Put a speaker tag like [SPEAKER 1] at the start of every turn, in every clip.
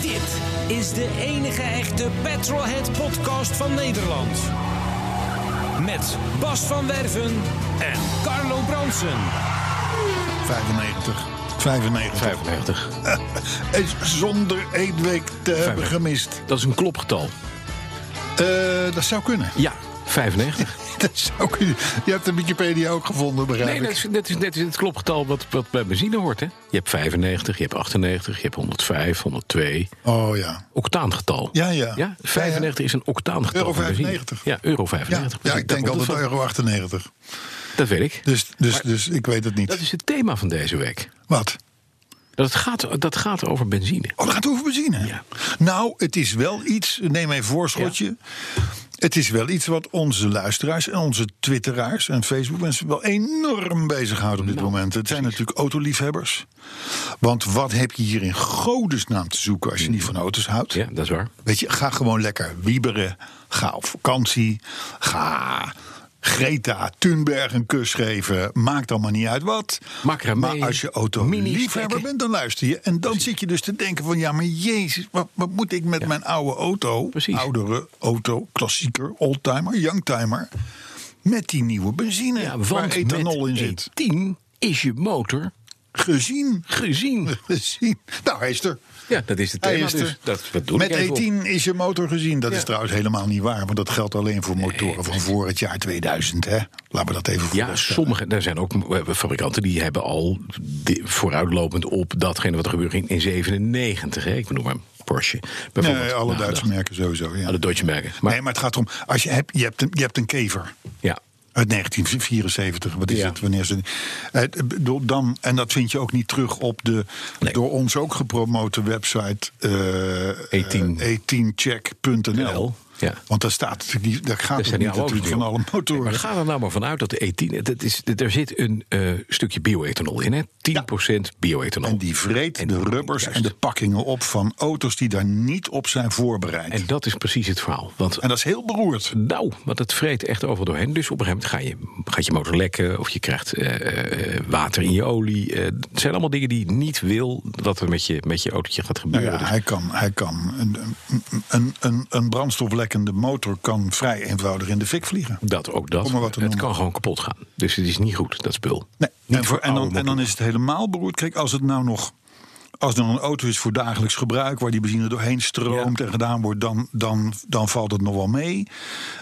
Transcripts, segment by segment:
[SPEAKER 1] Dit is de enige echte Petrolhead podcast van Nederland. Met Bas van Werven en Carlo Bronsen.
[SPEAKER 2] 95. 95.
[SPEAKER 3] 95.
[SPEAKER 2] Is zonder één week te hebben
[SPEAKER 3] 95.
[SPEAKER 2] gemist.
[SPEAKER 3] Dat is een klopgetal.
[SPEAKER 2] Eh, dat zou kunnen.
[SPEAKER 3] Ja, 95.
[SPEAKER 2] Dat zou kunnen. Je hebt de Wikipedia ook gevonden, begrijp
[SPEAKER 3] Nee,
[SPEAKER 2] ik.
[SPEAKER 3] dat is, dat, is, dat is het klopgetal wat, wat bij benzine hoort. Hè? Je hebt 95, je hebt 98, je hebt 105, 102.
[SPEAKER 2] Oh ja.
[SPEAKER 3] Octaangetal.
[SPEAKER 2] Ja, ja.
[SPEAKER 3] ja 95 is een octaangetal.
[SPEAKER 2] Euro
[SPEAKER 3] van benzine.
[SPEAKER 2] 95.
[SPEAKER 3] Ja, euro
[SPEAKER 2] Ja,
[SPEAKER 3] 95.
[SPEAKER 2] ja,
[SPEAKER 3] precies.
[SPEAKER 2] ik
[SPEAKER 3] Daar
[SPEAKER 2] denk
[SPEAKER 3] komt
[SPEAKER 2] altijd
[SPEAKER 3] het van.
[SPEAKER 2] euro 98.
[SPEAKER 3] Dat weet ik.
[SPEAKER 2] Dus, dus, dus ik weet het
[SPEAKER 3] Dat
[SPEAKER 2] niet.
[SPEAKER 3] is het thema van deze week.
[SPEAKER 2] Wat?
[SPEAKER 3] Dat gaat, dat gaat over benzine.
[SPEAKER 2] Oh, het gaat over benzine.
[SPEAKER 3] Ja.
[SPEAKER 2] Nou, het is wel iets. Neem een voorschotje. Het is wel iets wat onze luisteraars en onze twitteraars en Facebook mensen wel enorm bezighoudt op dit
[SPEAKER 3] Nou,
[SPEAKER 2] moment. Het zijn natuurlijk autoliefhebbers. Want wat heb je hier in godesnaam te zoeken als je niet van auto's houdt?
[SPEAKER 3] Mm. Ja, dat is waar.
[SPEAKER 2] Weet je, ga gewoon lekker wieberen. Ga op vakantie. Ga Greta Thunberg een kus geven. Maakt allemaal niet uit wat.
[SPEAKER 3] Maak er mee.
[SPEAKER 2] maar als je auto-liefhebber
[SPEAKER 3] Mini-stekker.
[SPEAKER 2] bent, dan luister je. En dan zit je dus te denken van... ja, maar jezus, wat, wat moet ik met mijn oude auto...
[SPEAKER 3] Precies.
[SPEAKER 2] oudere auto, klassieker, oldtimer, youngtimer... met die nieuwe benzine
[SPEAKER 3] Ja,
[SPEAKER 2] waar
[SPEAKER 3] want
[SPEAKER 2] ethanol in
[SPEAKER 3] met E.
[SPEAKER 2] zit.
[SPEAKER 3] 10 is je motor
[SPEAKER 2] Gezien.
[SPEAKER 3] gezien.
[SPEAKER 2] Gezien. Nou, hij is er.
[SPEAKER 3] Ja, dat is het
[SPEAKER 2] Hij
[SPEAKER 3] thema.
[SPEAKER 2] is
[SPEAKER 3] dus
[SPEAKER 2] er.
[SPEAKER 3] dat, dat doe
[SPEAKER 2] Met E
[SPEAKER 3] ik even op.
[SPEAKER 2] 18 is je motor gezien. Dat
[SPEAKER 3] Ja.
[SPEAKER 2] is trouwens helemaal niet waar. Want dat geldt alleen voor motoren van voor het jaar 2000. Hè? Laten we dat even
[SPEAKER 3] Ja,
[SPEAKER 2] voorstellen.
[SPEAKER 3] sommige, er zijn ook eh, fabrikanten die hebben al di- vooruitlopend op datgene wat er gebeurde in, in 97. Hè? Ik bedoel maar Porsche. bijvoorbeeld.
[SPEAKER 2] Nee, alle
[SPEAKER 3] Nou,
[SPEAKER 2] Duitse
[SPEAKER 3] dat-
[SPEAKER 2] merken sowieso. Ja.
[SPEAKER 3] Alle Duitse merken. Maar,
[SPEAKER 2] nee, maar het gaat erom. Als je, hebt, je, hebt een, je hebt een kever.
[SPEAKER 3] ja.
[SPEAKER 2] Uit 1974, wat is
[SPEAKER 3] Ja.
[SPEAKER 2] het? Wanneer ze, eh, door dan, en dat vind je ook niet terug op de
[SPEAKER 3] Nee.
[SPEAKER 2] door ons ook gepromote website eh,
[SPEAKER 3] 18.
[SPEAKER 2] eh, 18check.nl.
[SPEAKER 3] Ja.
[SPEAKER 2] Want daar staat natuurlijk, die- daar gaat
[SPEAKER 3] Daar
[SPEAKER 2] het
[SPEAKER 3] zijn
[SPEAKER 2] niet
[SPEAKER 3] die oude
[SPEAKER 2] natuurlijk van
[SPEAKER 3] auto's
[SPEAKER 2] alle
[SPEAKER 3] niet op.
[SPEAKER 2] motoren.
[SPEAKER 3] Maar ga er nou maar vanuit dat de E10... Dat is, dat- er zit een eh, stukje bioethanol in, hè? 10% bioethanol.
[SPEAKER 2] En die vreet
[SPEAKER 3] En-
[SPEAKER 2] de rubbers
[SPEAKER 3] juist.
[SPEAKER 2] en de pakkingen op van auto's die daar niet op zijn voorbereid. En,
[SPEAKER 3] En dat is precies het verhaal. Want
[SPEAKER 2] dat is heel beroerd.
[SPEAKER 3] Nou, want het vreet echt overal doorheen. Dus op een gegeven moment ga je, gaat je motor lekken of je krijgt eh, eh, water in je olie. Eh, het zijn allemaal dingen die je niet wil dat er met je, met je autootje gaat
[SPEAKER 2] Nou
[SPEAKER 3] gebeuren.
[SPEAKER 2] ja,
[SPEAKER 3] Dus
[SPEAKER 2] hij kan, hij kan een, een, een, een brandstoflekkende motor kan vrij eenvoudig in de fik vliegen.
[SPEAKER 3] dat ook dat.
[SPEAKER 2] Om maar wat te
[SPEAKER 3] het
[SPEAKER 2] noemen.
[SPEAKER 3] kan gewoon kapot gaan. Dus het is niet goed, dat spul.
[SPEAKER 2] Nee.
[SPEAKER 3] Niet
[SPEAKER 2] En, voor,
[SPEAKER 3] voor
[SPEAKER 2] en, dan,
[SPEAKER 3] oude
[SPEAKER 2] en dan is het helemaal beroerd. Kijk, als het nou nog. Als er nog een auto is voor dagelijks gebruik, waar die benzine doorheen stroomt en gedaan wordt, dan, dan, dan valt het nog wel mee.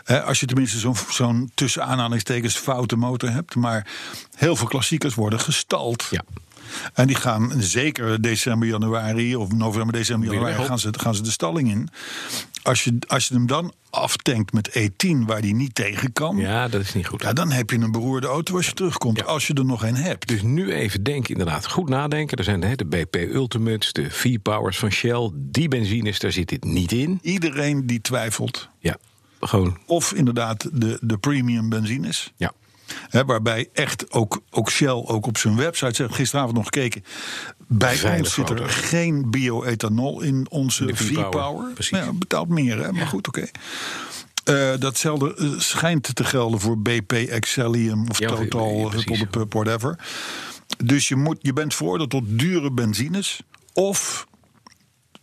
[SPEAKER 2] Eh, als je tenminste zo'n zo'n tussen aanhalingstekens foute motor hebt. Maar heel veel klassiekers worden gestald.
[SPEAKER 3] Ja.
[SPEAKER 2] En die gaan zeker december, januari of november, december,
[SPEAKER 3] Weer
[SPEAKER 2] januari
[SPEAKER 3] weg op.
[SPEAKER 2] gaan ze, gaan ze de stalling in. Als je, als je hem dan aftankt met E10, waar die niet tegen kan, ja.
[SPEAKER 3] Ja, dat is niet goed.
[SPEAKER 2] dan heb je een beroerde auto als je terugkomt. Als je er nog een hebt.
[SPEAKER 3] Dus nu even denken, inderdaad, goed nadenken. Er zijn hè, de BP Ultimates, de V-Powers van Shell. Die benzines, daar zit dit niet in.
[SPEAKER 2] Iedereen die twijfelt,
[SPEAKER 3] Ja, gewoon,
[SPEAKER 2] of inderdaad de, de premium benzines.
[SPEAKER 3] ja.
[SPEAKER 2] Hè, waarbij echt ook, ook Shell ook op zijn website zegt, gisteravond nog gekeken. Bij
[SPEAKER 3] Veilig
[SPEAKER 2] ons zit
[SPEAKER 3] voor
[SPEAKER 2] er
[SPEAKER 3] auto's.
[SPEAKER 2] geen bioethanol in onze
[SPEAKER 3] De V-Power,
[SPEAKER 2] V-Power.
[SPEAKER 3] precies.
[SPEAKER 2] Nou ja, betaalt meer, hè? maar goed, oké. Eh, datzelfde eh, schijnt te gelden voor BP, Excellium of
[SPEAKER 3] Ja, of- ja,
[SPEAKER 2] Total,
[SPEAKER 3] precies.
[SPEAKER 2] Huppel de Pup, whatever. Dus je, moet, je bent veroordeeld tot dure benzines of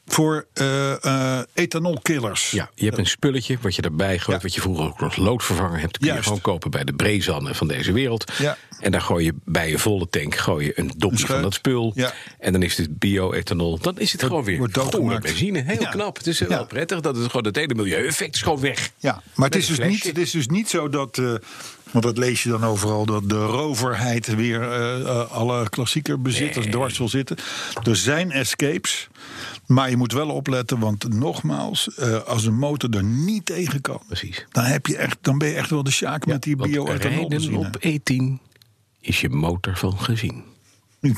[SPEAKER 2] voor eh eh ethanolkillers.
[SPEAKER 3] Ja, je hebt een spulletje wat je erbij gooit,
[SPEAKER 2] Ja.
[SPEAKER 3] wat je vroeger ook als loodvervanger hebt. Kun je
[SPEAKER 2] Juist.
[SPEAKER 3] gewoon kopen bij de brezannen van deze wereld.
[SPEAKER 2] Ja.
[SPEAKER 3] En daar gooi je bij je volle tank gooi je een dopje
[SPEAKER 2] Een scheut.
[SPEAKER 3] van dat spul.
[SPEAKER 2] Ja.
[SPEAKER 3] En dan is het bio-ethanol. Dan is het gewoon weer
[SPEAKER 2] wordt doodgemaakt.
[SPEAKER 3] gore benzine. Heel
[SPEAKER 2] Ja.
[SPEAKER 3] knap. Het is eh, wel
[SPEAKER 2] Ja.
[SPEAKER 3] prettig dat het gewoon het hele milieueffect is gewoon weg.
[SPEAKER 2] Ja, maar het
[SPEAKER 3] Met
[SPEAKER 2] is,
[SPEAKER 3] een
[SPEAKER 2] dus niet,
[SPEAKER 3] flesje.
[SPEAKER 2] het is dus niet zo dat. eh, want dat lees je dan overal, dat de roverheid weer eh, eh, alle klassieker bezitters dwars wil zitten. Er zijn escapes, maar je moet wel opletten, want nogmaals, eh, als een motor er niet tegen kan,
[SPEAKER 3] Precies.
[SPEAKER 2] dan, heb je echt, dan ben je echt wel de sjaak met die
[SPEAKER 3] Want E
[SPEAKER 2] bio-ethanol.
[SPEAKER 3] rijden op E10 is je motor van gezien.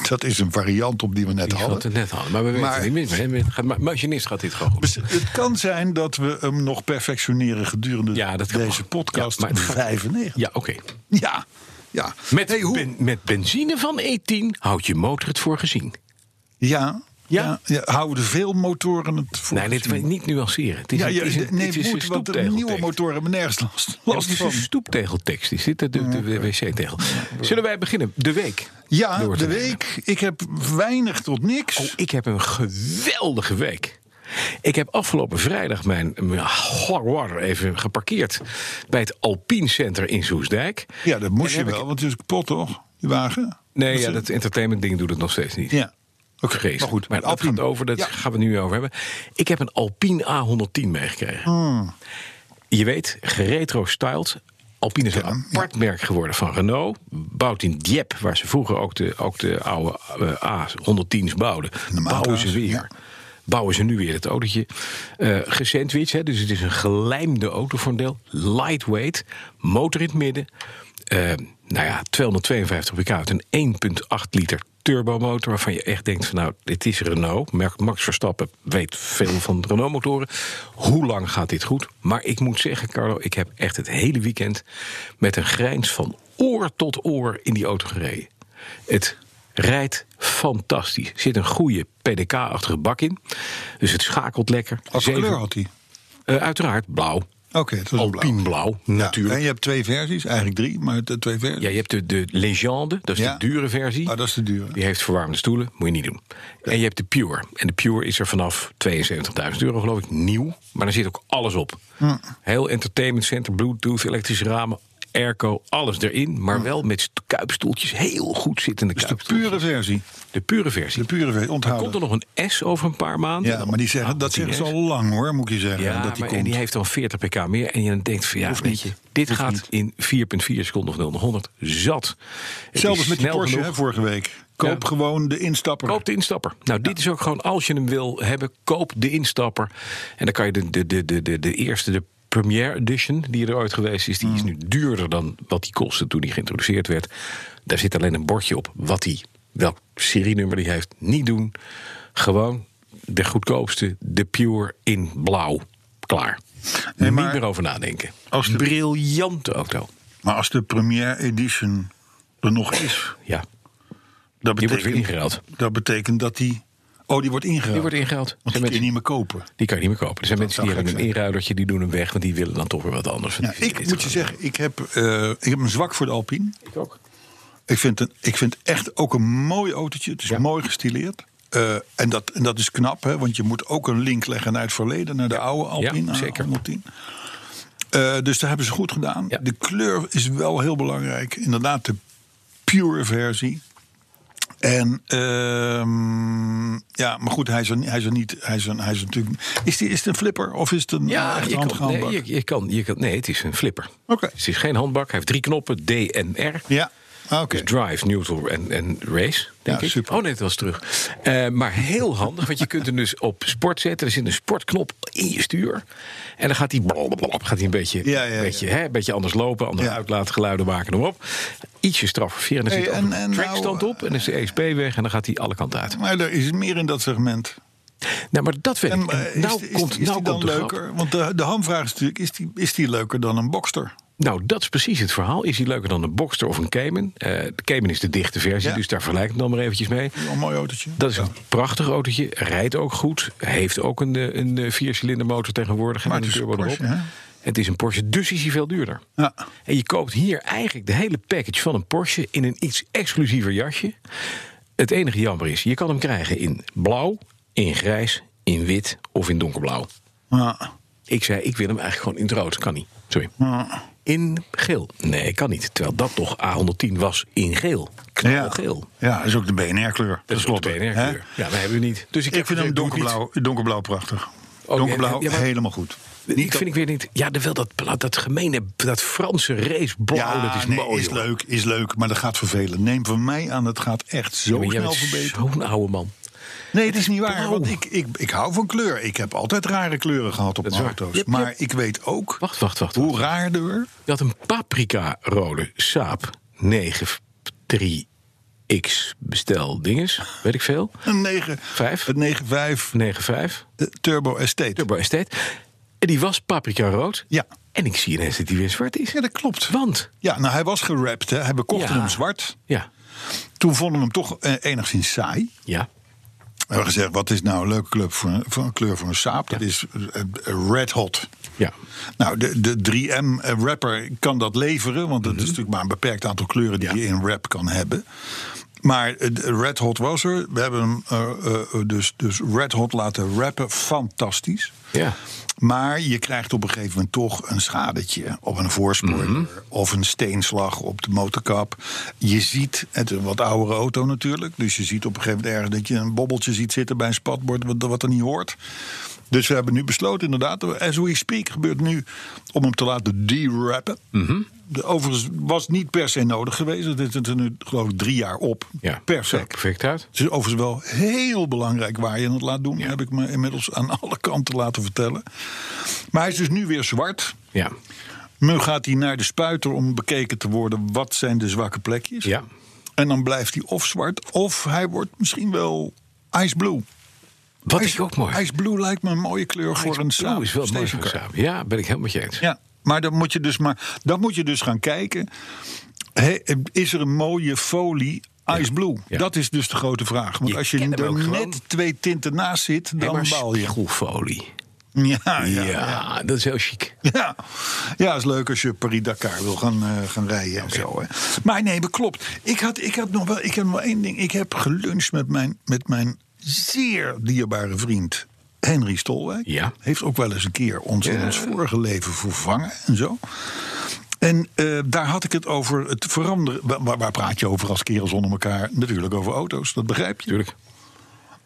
[SPEAKER 2] Dat is een variant op die we net
[SPEAKER 3] Die
[SPEAKER 2] hadden.
[SPEAKER 3] had het net hadden. Maar we weten
[SPEAKER 2] Maar-
[SPEAKER 3] het niet meer. hè. Gaat maar- Machinist gaat dit gewoon goed.
[SPEAKER 2] Dus het kan zijn dat we hem nog perfectioneren gedurende
[SPEAKER 3] Ja, dat kan.
[SPEAKER 2] deze podcast
[SPEAKER 3] Ja, maar het gaat-
[SPEAKER 2] 95.
[SPEAKER 3] Ja, oké.
[SPEAKER 2] Ja, ja.
[SPEAKER 3] Met,
[SPEAKER 2] Hey, hoe-
[SPEAKER 3] ben- met benzine van E10 houdt je motor het voor gezien.
[SPEAKER 2] ja,
[SPEAKER 3] Ja?
[SPEAKER 2] ja. ja, houden veel motoren het voor.
[SPEAKER 3] nee, dit wil ik niet nuanceren. Het is
[SPEAKER 2] ja,
[SPEAKER 3] een,
[SPEAKER 2] ja,
[SPEAKER 3] het is een-
[SPEAKER 2] nee,
[SPEAKER 3] het is een
[SPEAKER 2] moet, want de
[SPEAKER 3] stoeptegeltekst.
[SPEAKER 2] nieuwe motoren hebben nergens last,
[SPEAKER 3] Ja,
[SPEAKER 2] last
[SPEAKER 3] het is
[SPEAKER 2] van.
[SPEAKER 3] een stoeptegeltekst. Die zit op de, de wc-tegel. Zullen wij beginnen? De week.
[SPEAKER 2] Ja,
[SPEAKER 3] door te
[SPEAKER 2] de
[SPEAKER 3] nemen.
[SPEAKER 2] week. Ik heb weinig tot niks.
[SPEAKER 3] Oh, ik heb een geweldige week. Ik heb afgelopen vrijdag mijn, mijn Jaguar even geparkeerd bij het Alpine Center in Soesdijk.
[SPEAKER 2] ja, dat moest
[SPEAKER 3] En
[SPEAKER 2] je
[SPEAKER 3] heb
[SPEAKER 2] wel, want het is kapot toch? Die wagen?
[SPEAKER 3] Nee,
[SPEAKER 2] Dat
[SPEAKER 3] ja,
[SPEAKER 2] ze-
[SPEAKER 3] dat entertainment ding doet het nog steeds niet.
[SPEAKER 2] Ja. Oké,
[SPEAKER 3] Vreselijk.
[SPEAKER 2] maar goed.
[SPEAKER 3] maar dat
[SPEAKER 2] Alpine.
[SPEAKER 3] gaat over, dat
[SPEAKER 2] Ja.
[SPEAKER 3] gaan we het nu over hebben. Ik heb een Alpine A110 meegekregen.
[SPEAKER 2] Hmm.
[SPEAKER 3] Je weet, geretro-styled. Alpine is een
[SPEAKER 2] Ja,
[SPEAKER 3] apart merk geworden van Renault. Bouwt in Dieppe, waar ze vroeger ook de, ook de oude eh, A110's bouwden. Bouwen ze
[SPEAKER 2] Matra's,
[SPEAKER 3] weer.
[SPEAKER 2] ja.
[SPEAKER 3] Bouwen ze nu weer het autootje. Eh gesandwiched, hè, dus het is een gelijmde auto voor een deel. Lightweight, motor in het midden. Eh, nou ja, 252 pk uit een 1,8 liter turbomotor... waarvan je echt denkt van nou, dit is Renault. Merk Max Verstappen weet veel van Renault-motoren. Hoe lang gaat dit goed? Maar ik moet zeggen, Carlo, ik heb echt het hele weekend... met een grijns van oor tot oor in die auto gereden. Het rijdt fantastisch. Er zit een goede PDK-achtige bak in. Dus het schakelt lekker.
[SPEAKER 2] Wat voor
[SPEAKER 3] Zeven-
[SPEAKER 2] kleur had hij?
[SPEAKER 3] Eh, uiteraard blauw.
[SPEAKER 2] Oké, het was een blauw.
[SPEAKER 3] Alpien blauw,
[SPEAKER 2] Ja,
[SPEAKER 3] natuurlijk.
[SPEAKER 2] En je hebt twee versies, eigenlijk drie, maar de twee versies.
[SPEAKER 3] Ja, je hebt de, de Legende, dat is
[SPEAKER 2] Ja.
[SPEAKER 3] de dure versie.
[SPEAKER 2] Ah, dat is de dure.
[SPEAKER 3] Die heeft verwarmde stoelen, moet je niet doen. En je hebt de Pure. En de Pure is er vanaf 72.000 euro, geloof ik, nieuw. Maar daar zit ook alles op.
[SPEAKER 2] Hm.
[SPEAKER 3] Heel entertainment center, bluetooth, elektrische ramen, airco, alles erin. Maar wel met st- kuipstoeltjes, heel goed zittende
[SPEAKER 2] Hm. Dus de
[SPEAKER 3] kuipstoeltjes.
[SPEAKER 2] pure versie.
[SPEAKER 3] de pure versie.
[SPEAKER 2] De pure versie,
[SPEAKER 3] Komt er
[SPEAKER 2] onthouden.
[SPEAKER 3] nog een S over een Ah, paar maanden?
[SPEAKER 2] Ja, maar die zeggen, dat zeggen ze al lang hoor, moet je zeggen.
[SPEAKER 3] Ja,
[SPEAKER 2] dat die
[SPEAKER 3] maar
[SPEAKER 2] komt.
[SPEAKER 3] en die heeft dan 40 pk meer. En je dan denkt van ja,
[SPEAKER 2] Hoeft
[SPEAKER 3] weet
[SPEAKER 2] niet.
[SPEAKER 3] je, dit
[SPEAKER 2] Hoeft
[SPEAKER 3] gaat
[SPEAKER 2] niet.
[SPEAKER 3] in 4,4 seconden van 0 naar 100 zat. Het
[SPEAKER 2] Hetzelfde
[SPEAKER 3] is
[SPEAKER 2] als met die
[SPEAKER 3] snel
[SPEAKER 2] Porsche
[SPEAKER 3] genoeg.
[SPEAKER 2] hè, vorige week. Koop
[SPEAKER 3] Ja.
[SPEAKER 2] gewoon de instapper.
[SPEAKER 3] Koop de instapper. Nou, dit is ook gewoon, als je hem wil hebben, koop de instapper. En dan kan je de, de, de, de, de, de eerste, de Premiere Edition, die er ooit geweest is, die
[SPEAKER 2] Hmm.
[SPEAKER 3] is nu duurder dan wat die kostte toen die geïntroduceerd werd. Daar zit alleen een bordje op wat die, welk serienummer die heeft. Niet doen. Gewoon de goedkoopste, de Pure in blauw. Klaar.
[SPEAKER 2] maar-
[SPEAKER 3] Niet meer over nadenken.
[SPEAKER 2] Als de-
[SPEAKER 3] Briljante auto.
[SPEAKER 2] Maar als de première edition er nog is,
[SPEAKER 3] Ja,
[SPEAKER 2] dat
[SPEAKER 3] die
[SPEAKER 2] betekent,
[SPEAKER 3] wordt weer ingeruild.
[SPEAKER 2] dat betekent dat die... Oh, die wordt ingeruild.
[SPEAKER 3] Die wordt ingehaald.
[SPEAKER 2] Want die kun je niet meer kopen.
[SPEAKER 3] Die kan je niet meer kopen. Er zijn mensen
[SPEAKER 2] zou
[SPEAKER 3] die hebben
[SPEAKER 2] gek
[SPEAKER 3] een inruilertje, die doen hem weg, want die willen dan toch weer wat anders.
[SPEAKER 2] Ja, ik moet je zeggen, ik heb, eh, ik heb een zwak voor de Alpine.
[SPEAKER 3] Ik ook.
[SPEAKER 2] Ik vind, een, ik vind echt ook een mooi autootje. Het is mooi gestileerd. Eh, en, dat, en dat is knap, hè, want je moet ook een link leggen naar het verleden, naar de oude Alpine.
[SPEAKER 3] ja, zeker.
[SPEAKER 2] A110. Eh, dus daar hebben ze goed gedaan.
[SPEAKER 3] Ja.
[SPEAKER 2] De kleur is wel heel belangrijk. Inderdaad, de pure versie. En ehm, ja, maar goed, hij is er, hij is er niet. Hij is, er, hij is natuurlijk. Is, die, is het een flipper of is het een
[SPEAKER 3] Ja,
[SPEAKER 2] echt
[SPEAKER 3] je kan,
[SPEAKER 2] handgehandbak?
[SPEAKER 3] nee, je, je kan, je kan, nee, het is een flipper.
[SPEAKER 2] Oké.
[SPEAKER 3] Het is geen handbak. Hij heeft drie knoppen, D en R.
[SPEAKER 2] Ja, oké.
[SPEAKER 3] Dus drive, neutral en, en race, denk
[SPEAKER 2] Ja,
[SPEAKER 3] ik.
[SPEAKER 2] super.
[SPEAKER 3] Oh nee, het was terug. Eh, maar heel handig, want je kunt hem dus op sport zetten. Er zit een sportknop in je stuur. En dan gaat hij, blablabla, gaat hij een beetje,
[SPEAKER 2] Ja, ja, ja.
[SPEAKER 3] beetje, Hè, een beetje anders lopen. Andere
[SPEAKER 2] Ja.
[SPEAKER 3] uitlaatgeluiden maken hem op. Ietsje strafverveer. En dan
[SPEAKER 2] Hey,
[SPEAKER 3] zit ook
[SPEAKER 2] en-
[SPEAKER 3] een
[SPEAKER 2] en nou,
[SPEAKER 3] trackstand op. En dan is de ESP weg. En dan gaat hij alle kanten uit.
[SPEAKER 2] Maar er is meer in dat segment.
[SPEAKER 3] Nou, maar dat weet
[SPEAKER 2] En,
[SPEAKER 3] ik. En
[SPEAKER 2] eh, is,
[SPEAKER 3] nou
[SPEAKER 2] die- is,
[SPEAKER 3] komt,
[SPEAKER 2] die- is
[SPEAKER 3] nou
[SPEAKER 2] die dan
[SPEAKER 3] komt de grap.
[SPEAKER 2] leuker? Want de, de hamvraag is natuurlijk, is die, is die leuker dan een Boxster?
[SPEAKER 3] Nou, dat is precies het verhaal. Is die leuker dan een Boxster of een Cayman? Eh, de Cayman is de dichte versie,
[SPEAKER 2] Ja.
[SPEAKER 3] dus daar vergelijk ik hem dan maar eventjes mee.
[SPEAKER 2] Wel Een mooi autootje.
[SPEAKER 3] Dat is
[SPEAKER 2] Ja.
[SPEAKER 3] een prachtig autootje, rijdt ook goed. Heeft ook een, eh, een eh, viercilinder motor tegenwoordig. en
[SPEAKER 2] Maar
[SPEAKER 3] een
[SPEAKER 2] het is een
[SPEAKER 3] turbo erop.
[SPEAKER 2] Porsche, hè?
[SPEAKER 3] Het is een Porsche, dus is hij veel duurder.
[SPEAKER 2] Ja.
[SPEAKER 3] En je koopt hier eigenlijk de hele package van een Porsche... in een iets exclusiever jasje. Het enige jammer is, je kan hem krijgen in blauw, in grijs, in wit of in donkerblauw.
[SPEAKER 2] Ja.
[SPEAKER 3] Ik zei, ik wil hem eigenlijk gewoon in het rood. Kan niet. Sorry. In geel. Nee, kan niet. Terwijl dat toch A110 was in geel. Knalgeel.
[SPEAKER 2] Ja, dat is ook de BNR-kleur.
[SPEAKER 3] Dat is klopt. BNR
[SPEAKER 2] hè?
[SPEAKER 3] kleur. Ja, we hebben we niet. Dus ik,
[SPEAKER 2] Ik
[SPEAKER 3] heb
[SPEAKER 2] vind hem
[SPEAKER 3] gezegd, doe het niet.
[SPEAKER 2] donkerblauw, donkerblauw prachtig.
[SPEAKER 3] nee,
[SPEAKER 2] donkerblauw,
[SPEAKER 3] ja, maar-
[SPEAKER 2] helemaal goed.
[SPEAKER 3] ik vind ik weer niet. Ja, wel dat, pla- dat gemene, dat Franse raceblauw, Oh, dat is
[SPEAKER 2] nee,
[SPEAKER 3] mooi.
[SPEAKER 2] is
[SPEAKER 3] joh.
[SPEAKER 2] leuk, is leuk, maar dat gaat vervelen. Neem van mij aan, het gaat echt
[SPEAKER 3] Ja,
[SPEAKER 2] zo
[SPEAKER 3] maar jij
[SPEAKER 2] snel
[SPEAKER 3] bent
[SPEAKER 2] verbeteren.
[SPEAKER 3] Zo'n oude man.
[SPEAKER 2] Nee, het is niet waar,
[SPEAKER 3] blauw.
[SPEAKER 2] want ik, ik, ik hou van kleur. Ik heb altijd rare kleuren gehad op
[SPEAKER 3] Dat is
[SPEAKER 2] mijn
[SPEAKER 3] waar.
[SPEAKER 2] auto's.
[SPEAKER 3] Yep,
[SPEAKER 2] maar
[SPEAKER 3] yep.
[SPEAKER 2] ik weet ook
[SPEAKER 3] Wacht, wacht, wacht.
[SPEAKER 2] hoe
[SPEAKER 3] wacht.
[SPEAKER 2] raarder...
[SPEAKER 3] Je had een paprika-rode Saab 931 X bestel dinges, weet ik veel.
[SPEAKER 2] Een 9,
[SPEAKER 3] Vijf.
[SPEAKER 2] het 9.5
[SPEAKER 3] 9,5.
[SPEAKER 2] eh, Turbo Estate.
[SPEAKER 3] Turbo Estate. En die was paprika rood.
[SPEAKER 2] Ja.
[SPEAKER 3] En ik zie ineens dat die weer zwart is.
[SPEAKER 2] Ja, dat klopt.
[SPEAKER 3] Want,
[SPEAKER 2] Ja, nou hij was gerapt. Hè. Hij bekocht
[SPEAKER 3] Ja.
[SPEAKER 2] hem zwart.
[SPEAKER 3] ja,
[SPEAKER 2] Toen vonden we hem toch eh, enigszins saai.
[SPEAKER 3] ja,
[SPEAKER 2] We hebben gezegd, wat is nou een leuke club voor een, voor een kleur voor een saap? Dat is eh, eh, red hot.
[SPEAKER 3] ja.
[SPEAKER 2] Nou, de, de 3M-rapper kan dat leveren, want het is natuurlijk maar een beperkt aantal kleuren die
[SPEAKER 3] Mhm. Ja.
[SPEAKER 2] je in rap kan hebben. Maar eh, de Red Hot was er. We hebben hem eh, eh, dus, dus Red Hot laten rappen. Fantastisch.
[SPEAKER 3] Ja.
[SPEAKER 2] Maar je krijgt op een gegeven moment toch een schadetje op een voorspoor
[SPEAKER 3] Mhm.
[SPEAKER 2] of een steenslag op de motorkap. Je ziet, het is een wat oudere auto natuurlijk, dus je ziet op een gegeven moment ergens dat je een bobbeltje ziet zitten bij een spatbord wat, wat er niet hoort. Dus we hebben nu besloten inderdaad, as we speak gebeurt nu, om hem te laten derappen.
[SPEAKER 3] Mhm.
[SPEAKER 2] De, overigens was niet per se nodig geweest, het is er nu geloof ik drie jaar op.
[SPEAKER 3] ja. Zag
[SPEAKER 2] Perfect.
[SPEAKER 3] Perfect uit.
[SPEAKER 2] Het is overigens wel heel belangrijk waar je het laat doen. Heb ik me inmiddels aan alle kanten laten vertellen. Maar hij is dus nu weer zwart.
[SPEAKER 3] Ja,
[SPEAKER 2] Nu gaat hij naar de spuiter om bekeken te worden wat zijn de zwakke plekjes.
[SPEAKER 3] ja.
[SPEAKER 2] En dan blijft hij of zwart of hij wordt misschien wel ice blue.
[SPEAKER 3] Wat
[SPEAKER 2] Ice-
[SPEAKER 3] ik ook mooi vind.
[SPEAKER 2] Ice blue lijkt me een mooie kleur voor een
[SPEAKER 3] Blue
[SPEAKER 2] saap.
[SPEAKER 3] is wel mooi
[SPEAKER 2] station
[SPEAKER 3] voor
[SPEAKER 2] car.
[SPEAKER 3] samen. Ja, ben ik helemaal met je eens.
[SPEAKER 2] Ja, maar dan moet je dus maar dat moet je dus gaan kijken. Hé, is er een mooie folie ice blue?
[SPEAKER 3] ja.
[SPEAKER 2] Dat is dus de grote vraag. Want
[SPEAKER 3] Je
[SPEAKER 2] als je
[SPEAKER 3] kent hem
[SPEAKER 2] er
[SPEAKER 3] ook
[SPEAKER 2] net
[SPEAKER 3] gewoon.
[SPEAKER 2] twee tinten naast zit,
[SPEAKER 3] Nee,
[SPEAKER 2] dan
[SPEAKER 3] maar
[SPEAKER 2] baal je.
[SPEAKER 3] spiegelfolie.
[SPEAKER 2] Ja,
[SPEAKER 3] Ja,
[SPEAKER 2] ja, ja.
[SPEAKER 3] dat is heel chic.
[SPEAKER 2] Ja. ja, is leuk als je Paris-Dakar wil gaan, eh, gaan rijden en zo. Hè. Maar nee, dat klopt. Ik had, ik had nog wel ik heb nog wel één ding. Ik heb geluncht met mijn, met mijn zeer dierbare vriend Henry Stolwijk.
[SPEAKER 3] Ja.
[SPEAKER 2] Heeft ook wel eens een keer ons in ons vorige leven vervangen en zo. En eh, daar had ik het over het veranderen. Wa- Waar, waar praat je over als kerels onder elkaar? Natuurlijk over auto's, dat begrijp je.
[SPEAKER 3] Tuurlijk.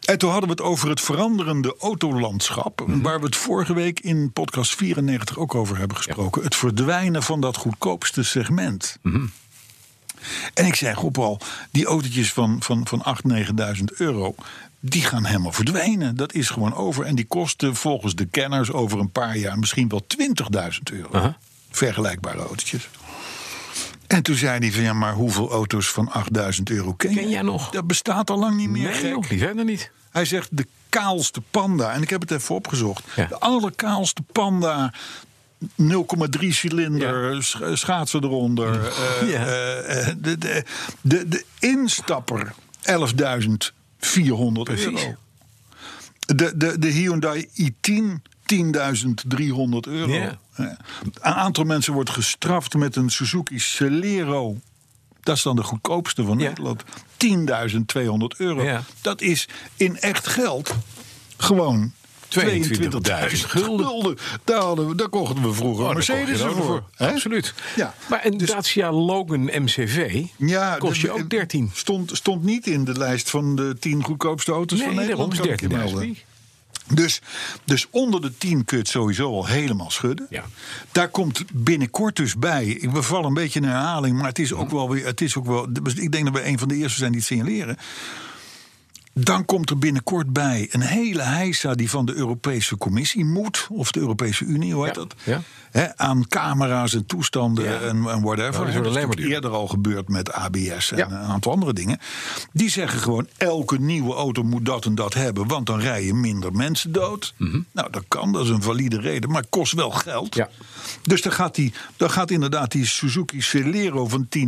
[SPEAKER 2] En toen hadden we het over het veranderende autolandschap.
[SPEAKER 3] Mhm.
[SPEAKER 2] Waar we het vorige week in podcast 94 ook over hebben gesproken. Het verdwijnen van dat goedkoopste segment.
[SPEAKER 3] Mhm.
[SPEAKER 2] En ik zei, op al, die autootjes van, van, van 8.000, 9.000 euro. Die gaan helemaal verdwijnen. Dat is gewoon over. En die kosten volgens de kenners over een paar jaar misschien wel 20.000 euro.
[SPEAKER 3] Aha.
[SPEAKER 2] Vergelijkbare autootjes. En toen zei hij van ja, maar hoeveel auto's van 8000 euro ken,
[SPEAKER 3] Ken jij nog?
[SPEAKER 2] Dat bestaat al lang niet meer.
[SPEAKER 3] Nee,
[SPEAKER 2] gek.
[SPEAKER 3] joh, die zijn er niet. Oh,
[SPEAKER 2] Hij zegt de kaalste panda. En ik heb het even opgezocht.
[SPEAKER 3] Ja.
[SPEAKER 2] De allerkaalste panda. 0,3 cilinder, sch- schaatsen eronder. eh,
[SPEAKER 3] Ja.
[SPEAKER 2] eh, eh, de, de, de, de instapper 11.400 euro. De, de, de Hyundai i10 10.300 euro.
[SPEAKER 3] Ja.
[SPEAKER 2] Eh, Een aantal mensen wordt gestraft met een Suzuki Celero. Dat is dan de goedkoopste van
[SPEAKER 3] Ja.
[SPEAKER 2] Nederland. 10.200 euro.
[SPEAKER 3] Ja.
[SPEAKER 2] Dat is in echt geld gewoon
[SPEAKER 3] 22.000 gulden.
[SPEAKER 2] Daar, hadden we, daar kochten we vroeger
[SPEAKER 3] Oh, daar
[SPEAKER 2] Mercedes
[SPEAKER 3] kocht je een
[SPEAKER 2] voor.
[SPEAKER 3] auto
[SPEAKER 2] hè?
[SPEAKER 3] Absoluut.
[SPEAKER 2] Ja. Dus-
[SPEAKER 3] Maar een Dacia Logan MCV
[SPEAKER 2] Ja,
[SPEAKER 3] kost je
[SPEAKER 2] de-
[SPEAKER 3] ook 13.
[SPEAKER 2] Stond, stond niet in de lijst van de 10 goedkoopste auto's van
[SPEAKER 3] Nee, daarom
[SPEAKER 2] Nederland.
[SPEAKER 3] is
[SPEAKER 2] kan ik je
[SPEAKER 3] 13.000
[SPEAKER 2] melden.
[SPEAKER 3] piek.
[SPEAKER 2] Dus, dus onder de 10 kun je het sowieso al helemaal schudden.
[SPEAKER 3] Ja.
[SPEAKER 2] Daar komt binnenkort dus bij. Ik- We vallen een beetje in herhaling, maar het is ook wel weer. Het is ook wel, dus ik denk dat we een van de eerste zijn die het signaleren. Dan komt er binnenkort bij een hele heisa die van de Europese Commissie moet, of de Europese Unie, hoe heet
[SPEAKER 3] Ja,
[SPEAKER 2] dat?
[SPEAKER 3] ja.
[SPEAKER 2] Hè, aan camera's en toestanden
[SPEAKER 3] Ja.
[SPEAKER 2] en, en whatever.
[SPEAKER 3] Ja, dat
[SPEAKER 2] hè. Dus
[SPEAKER 3] is
[SPEAKER 2] dat is
[SPEAKER 3] alleen maar
[SPEAKER 2] natuurlijk
[SPEAKER 3] duur.
[SPEAKER 2] eerder al gebeurd met ABS en
[SPEAKER 3] Ja.
[SPEAKER 2] een aantal andere dingen. Die zeggen gewoon: elke nieuwe auto moet dat en dat hebben, want dan rijden minder mensen dood. Nou, dat kan, dat is een valide reden, maar het kost wel geld.
[SPEAKER 3] Mhm. Ja.
[SPEAKER 2] Dus dan gaat, die, dan gaat inderdaad die Suzuki Celero van 10.2,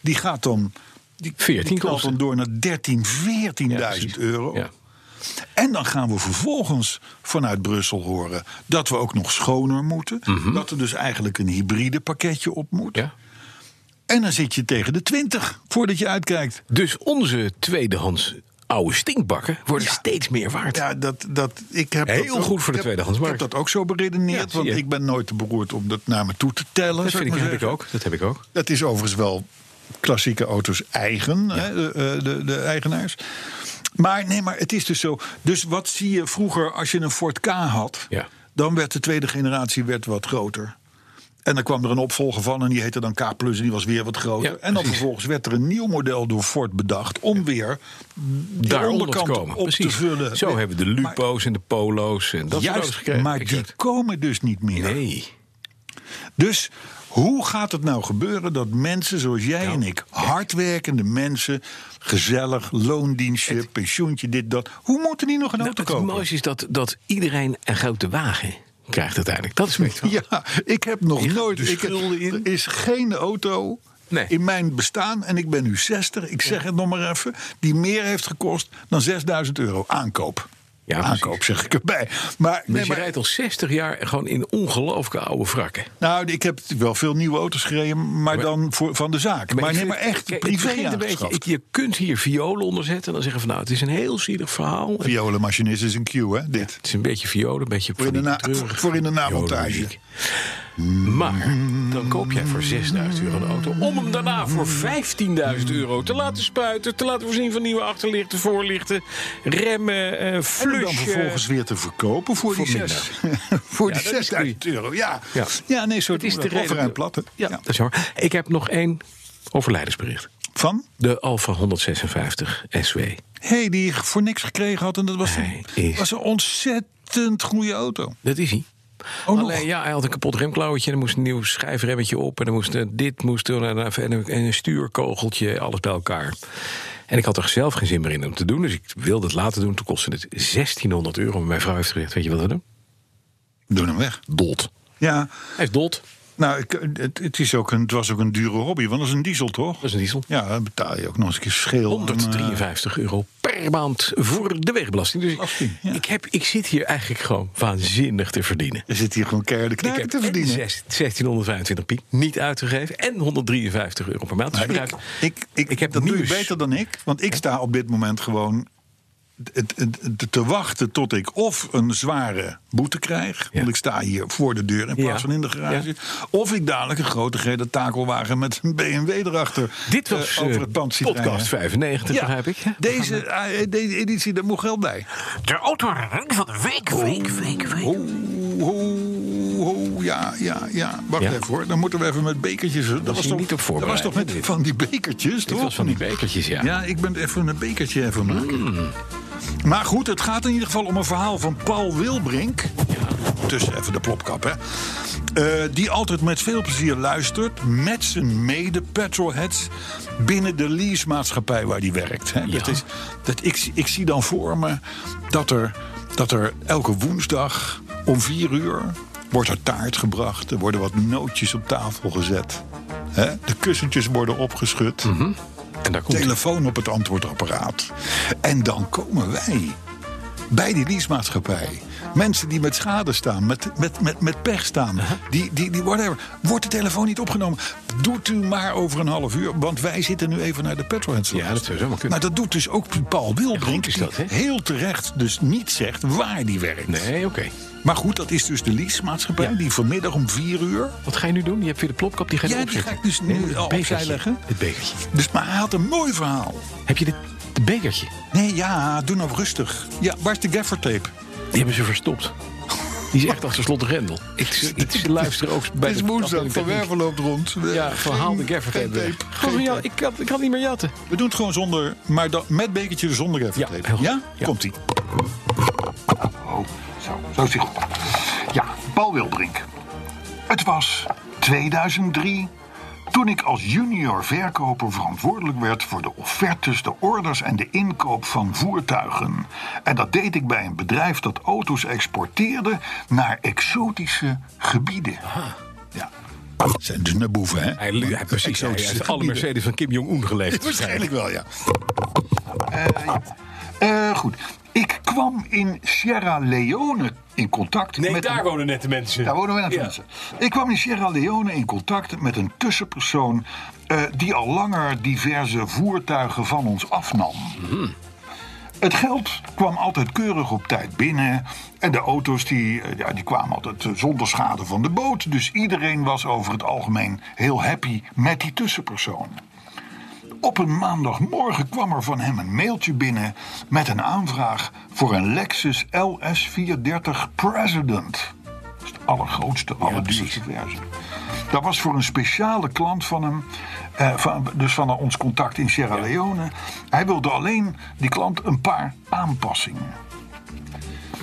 [SPEAKER 2] die gaat dan. Die,
[SPEAKER 3] 14
[SPEAKER 2] die knalt
[SPEAKER 3] kosten.
[SPEAKER 2] dan door naar 13, 14.000
[SPEAKER 3] Ja, precies.
[SPEAKER 2] euro.
[SPEAKER 3] Ja.
[SPEAKER 2] En dan gaan we vervolgens vanuit Brussel horen dat we ook nog schoner moeten. Dat er dus eigenlijk een hybride pakketje op moet.
[SPEAKER 3] Mhm. Ja.
[SPEAKER 2] En dan zit je tegen de 20 voordat je uitkijkt.
[SPEAKER 3] Dus onze tweedehands oude stinkbakken worden steeds meer waard.
[SPEAKER 2] Ja, dat, dat, ik heb
[SPEAKER 3] Heel
[SPEAKER 2] dat ook-
[SPEAKER 3] goed voor de
[SPEAKER 2] ik heb-
[SPEAKER 3] tweedehandsmarkt.
[SPEAKER 2] Ik heb dat ook zo
[SPEAKER 3] Ja,
[SPEAKER 2] beredeneerd,
[SPEAKER 3] zie
[SPEAKER 2] want
[SPEAKER 3] je.
[SPEAKER 2] ik ben nooit te beroerd om dat naar me toe te tellen.
[SPEAKER 3] dat
[SPEAKER 2] zou
[SPEAKER 3] vind ik,
[SPEAKER 2] maar
[SPEAKER 3] heb ik
[SPEAKER 2] zeggen.
[SPEAKER 3] ook. Dat heb ik ook.
[SPEAKER 2] Dat is overigens wel klassieke auto's eigen, hè, de, eh, de, de eigenaars. Maar nee, maar het is dus zo. Dus wat zie je vroeger als je een Ford K had?
[SPEAKER 3] Ja.
[SPEAKER 2] Dan werd de tweede generatie werd wat groter. En dan kwam er een opvolger van en die heette dan K+, en die was weer wat groter.
[SPEAKER 3] Ja,
[SPEAKER 2] en dan
[SPEAKER 3] precies.
[SPEAKER 2] vervolgens werd er een nieuw model door Ford bedacht... om weer die
[SPEAKER 3] Daaronder te
[SPEAKER 2] onderkant
[SPEAKER 3] komen.
[SPEAKER 2] op
[SPEAKER 3] Precies.
[SPEAKER 2] te vullen.
[SPEAKER 3] Zo hebben we de
[SPEAKER 2] Maar-
[SPEAKER 3] Lupo's en de Polo's en dat soort auto's
[SPEAKER 2] Juist,
[SPEAKER 3] gekregen.
[SPEAKER 2] maar die
[SPEAKER 3] Exact.
[SPEAKER 2] komen dus niet meer.
[SPEAKER 3] Nee.
[SPEAKER 2] Dus hoe gaat het nou gebeuren dat mensen zoals jij
[SPEAKER 3] Nou,
[SPEAKER 2] en ik, hardwerkende mensen, gezellig, loondienstje, pensioentje, dit, dat, hoe moeten die nog een
[SPEAKER 3] Nou,
[SPEAKER 2] auto
[SPEAKER 3] het
[SPEAKER 2] kopen?
[SPEAKER 3] mooiste is dat, dat iedereen een grote wagen krijgt uiteindelijk. Dat is beter.
[SPEAKER 2] Ja, ik heb nog
[SPEAKER 3] Je gaat
[SPEAKER 2] nooit.
[SPEAKER 3] de
[SPEAKER 2] Ik heb-
[SPEAKER 3] schulden in.
[SPEAKER 2] er is geen auto
[SPEAKER 3] Nee.
[SPEAKER 2] in mijn bestaan. En ik ben nu 60, ik zeg het nog maar even. Die meer heeft gekost dan 6000 euro aankoop.
[SPEAKER 3] Ja, precies.
[SPEAKER 2] aankoop zeg ik erbij. Maar,
[SPEAKER 3] Dus
[SPEAKER 2] nee,
[SPEAKER 3] je
[SPEAKER 2] maar
[SPEAKER 3] rijdt al 60 jaar gewoon in ongelooflijke oude wrakken.
[SPEAKER 2] nou, ik heb wel veel nieuwe auto's gereden, maar dan voor, van de zaak. Maar,
[SPEAKER 3] ik
[SPEAKER 2] nee,
[SPEAKER 3] vind-
[SPEAKER 2] maar echt
[SPEAKER 3] kijk,
[SPEAKER 2] privé
[SPEAKER 3] het begint een beetje, ik-
[SPEAKER 2] aangeschaft.
[SPEAKER 3] Je kunt hier violen onderzetten en dan zeggen van nou, het is een heel zielig verhaal. Het
[SPEAKER 2] Violenmachinist is een Q, hè? Dit.
[SPEAKER 3] is een beetje violen, een beetje
[SPEAKER 2] Voor
[SPEAKER 3] van
[SPEAKER 2] in de
[SPEAKER 3] die
[SPEAKER 2] na-
[SPEAKER 3] treurige
[SPEAKER 2] voor in de namontage.
[SPEAKER 3] violenmuziek. Maar dan koop jij voor 6000 euro een auto om hem daarna voor 15.000 euro te laten spuiten, te laten voorzien van nieuwe achterlichten, voorlichten, remmen, eh
[SPEAKER 2] En hem dan
[SPEAKER 3] flushen.
[SPEAKER 2] vervolgens weer te verkopen voor,
[SPEAKER 3] Voor
[SPEAKER 2] die zes. voor die
[SPEAKER 3] dat is
[SPEAKER 2] 6000 euro. Ja.
[SPEAKER 3] Ja.
[SPEAKER 2] Ja. nee, zo
[SPEAKER 3] Het is
[SPEAKER 2] doen we
[SPEAKER 3] de
[SPEAKER 2] dat. Koffer
[SPEAKER 3] reden-
[SPEAKER 2] en platte.
[SPEAKER 3] Ja, dat is jammer. Ik heb nog één overlijdensbericht.
[SPEAKER 2] Van?
[SPEAKER 3] De Alfa 156 SW.
[SPEAKER 2] Hé, hey, die ik voor niks gekregen had. En dat was,
[SPEAKER 3] Hij
[SPEAKER 2] een,
[SPEAKER 3] is-
[SPEAKER 2] was een ontzettend goede auto. Oh,
[SPEAKER 3] Dat is hij.
[SPEAKER 2] nog?
[SPEAKER 3] Alleen ja, hij had een kapot remklauwtje. Er moest een nieuw schijfremmetje op. En er moest eh, dit, moest er en, en een- en een stuurkogeltje. Alles bij elkaar. En ik had er zelf geen zin meer in om te doen. Dus ik wilde het laten doen. Toen kostte het 1600 euro. Maar mijn vrouw heeft gezegd: Weet je wat we doen?
[SPEAKER 2] Doe hem weg.
[SPEAKER 3] Dot.
[SPEAKER 2] Ja,
[SPEAKER 3] Hij is dot.
[SPEAKER 2] nou, ik, het, het is ook een, het was ook een dure hobby. Want dat is een diesel, toch?
[SPEAKER 3] Dat is een diesel.
[SPEAKER 2] Ja, dan betaal je ook nog eens een keer scheel. aan, eh,
[SPEAKER 3] 153 euro per maand voor de wegenbelasting. Dus ik,
[SPEAKER 2] Belasting, ja.
[SPEAKER 3] ik, heb, ik zit hier eigenlijk gewoon waanzinnig te verdienen.
[SPEAKER 2] Er zit hier gewoon keihard de
[SPEAKER 3] Ik
[SPEAKER 2] knaken
[SPEAKER 3] heb
[SPEAKER 2] te
[SPEAKER 3] en
[SPEAKER 2] verdienen.
[SPEAKER 3] zes- 1625 piek niet uitgegeven en 153 euro per maand. Dus
[SPEAKER 2] Maar ik,
[SPEAKER 3] begrijp-
[SPEAKER 2] Nou, ik, ik,
[SPEAKER 3] ik heb
[SPEAKER 2] dat
[SPEAKER 3] nu
[SPEAKER 2] doe je
[SPEAKER 3] eens-
[SPEAKER 2] beter dan ik. Want ik sta op dit moment gewoon het- het- het- te wachten tot ik of een zware boete krijg.
[SPEAKER 3] Ja.
[SPEAKER 2] Want ik sta hier voor de deur in plaats
[SPEAKER 3] Ja.
[SPEAKER 2] van in de garage. Of ik dadelijk een grote gele takelwagen met een BMW erachter
[SPEAKER 3] Dit
[SPEAKER 2] eh,
[SPEAKER 3] was eh,
[SPEAKER 2] over het pand zie
[SPEAKER 3] podcast
[SPEAKER 2] rijden.
[SPEAKER 3] 95,
[SPEAKER 2] Ja,
[SPEAKER 3] begrijp ik. hè?
[SPEAKER 2] Deze, eh, deze editie, daar moet geld bij.
[SPEAKER 4] De autoherinnering van de week, week, week, week.
[SPEAKER 2] Ho, ho, ho, ja, ja, ja. Wacht
[SPEAKER 3] Ja.
[SPEAKER 2] even hoor, dan moeten we even met bekertjes... Dat was,
[SPEAKER 3] je
[SPEAKER 2] toch,
[SPEAKER 3] niet op
[SPEAKER 2] dat was
[SPEAKER 3] voorbereid,
[SPEAKER 2] toch
[SPEAKER 3] hè,
[SPEAKER 2] met
[SPEAKER 3] dit?
[SPEAKER 2] van die bekertjes,
[SPEAKER 3] Dit
[SPEAKER 2] toch?
[SPEAKER 3] was van die bekertjes, ja. Mm.
[SPEAKER 2] Ja, ik ben even een bekertje even maken. Maar goed, het gaat in ieder geval om een verhaal van Paul Wilbrink. Tussen even de plopkap, hè. Eh, die altijd met veel plezier luistert met zijn mede-petrolheads binnen de leasemaatschappij waar hij werkt. Hè. Dat
[SPEAKER 3] Ja.
[SPEAKER 2] is, dat ik, ik zie dan voor me dat er, dat er elke woensdag om vier uur wordt er taart gebracht. Er worden wat nootjes op tafel gezet. Hè. De kussentjes worden opgeschud
[SPEAKER 3] Mm. En daar komt
[SPEAKER 2] telefoon op het antwoordapparaat. En dan komen wij bij die leasemaatschappij. Mensen die met schade staan, met, met, met, met pech staan, die, die, die whatever. Wordt de telefoon niet opgenomen? Doet u maar over een half uur, want wij zitten nu even naar de petrolheads. te
[SPEAKER 3] Ja, dat
[SPEAKER 2] luisteren.
[SPEAKER 3] zou zomaar kunnen.
[SPEAKER 2] Maar dat doet dus ook Paul
[SPEAKER 3] goed
[SPEAKER 2] Wilbrink,
[SPEAKER 3] is
[SPEAKER 2] die
[SPEAKER 3] dat, hè?
[SPEAKER 2] heel terecht dus niet zegt waar die werkt.
[SPEAKER 3] Nee, oké.
[SPEAKER 2] Maar goed, dat is dus de leasemaatschappij,
[SPEAKER 3] Ja.
[SPEAKER 2] die vanmiddag om vier uur...
[SPEAKER 3] Wat ga je nu doen? Je hebt weer de plopkap, die ga je
[SPEAKER 2] Ja, die
[SPEAKER 3] opzetten.
[SPEAKER 2] ga ik dus nu
[SPEAKER 3] maar het
[SPEAKER 2] al opzij leggen.
[SPEAKER 3] Het bekertje.
[SPEAKER 2] Dus, maar hij had een mooi verhaal.
[SPEAKER 3] Heb je dit het bekertje?
[SPEAKER 2] Nee, ja, doe nou rustig. Ja, waar is de gaffer tape?
[SPEAKER 3] Die hebben ze verstopt. Die is echt achter slot de grendel. Ik, ik, ik luister ook bij
[SPEAKER 2] Het is
[SPEAKER 3] de
[SPEAKER 2] woensdag,
[SPEAKER 3] afdeling
[SPEAKER 2] Van
[SPEAKER 3] techniek.
[SPEAKER 2] Werven loopt rond. We-
[SPEAKER 3] Ja, verhaal de
[SPEAKER 2] geen-
[SPEAKER 3] gaffer
[SPEAKER 2] geen
[SPEAKER 3] tape.
[SPEAKER 2] tape,
[SPEAKER 3] Gewoon
[SPEAKER 2] geen
[SPEAKER 3] van, ja,
[SPEAKER 2] tape.
[SPEAKER 3] Ik kan, ik kan niet meer jatten.
[SPEAKER 2] We doen het gewoon zonder, maar dan met bekertje er zonder gaffer
[SPEAKER 3] Ja, heel
[SPEAKER 2] tape.
[SPEAKER 3] goed.
[SPEAKER 2] Ja?
[SPEAKER 3] Ja.
[SPEAKER 2] Komt-ie.
[SPEAKER 5] Oh, Zo, zo is hij goed. Ja, Paul Wilbrink. Het was 2003 toen ik als junior verkoper verantwoordelijk werd voor de offertes, de orders en de inkoop van voertuigen. En dat deed ik bij een bedrijf dat auto's exporteerde naar exotische gebieden. Ja.
[SPEAKER 2] Het zijn dus naar boeven, hè?
[SPEAKER 3] Hij, hij, precies, hij
[SPEAKER 2] Exotische
[SPEAKER 3] heeft alle
[SPEAKER 2] gebieden.
[SPEAKER 3] Mercedes van Kim Jong-un gelegd.
[SPEAKER 2] Waarschijnlijk wel, ja.
[SPEAKER 5] Eh, goed, ik kwam in Sierra Leone in contact
[SPEAKER 3] Nee,
[SPEAKER 5] met
[SPEAKER 3] daar
[SPEAKER 5] een-
[SPEAKER 3] wonen net de mensen.
[SPEAKER 5] Daar wonen we net
[SPEAKER 3] Ja.
[SPEAKER 5] mensen. Ik kwam in Sierra Leone in contact met een tussenpersoon... eh, die al langer diverse voertuigen van ons afnam.
[SPEAKER 3] Mhm.
[SPEAKER 5] Het geld kwam altijd keurig op tijd binnen. En de auto's die, eh, ja, die kwamen altijd eh, zonder schade van de boot. Dus iedereen was over het algemeen heel happy met die tussenpersoon. Op een maandagmorgen kwam er van hem een mailtje binnen met een aanvraag voor een Lexus LS430 President. Dat is de allergrootste, allerduurste versie. Dat was voor een speciale klant van hem, eh, van, dus van ons contact in Sierra Leone. Hij wilde alleen die klant een paar aanpassingen.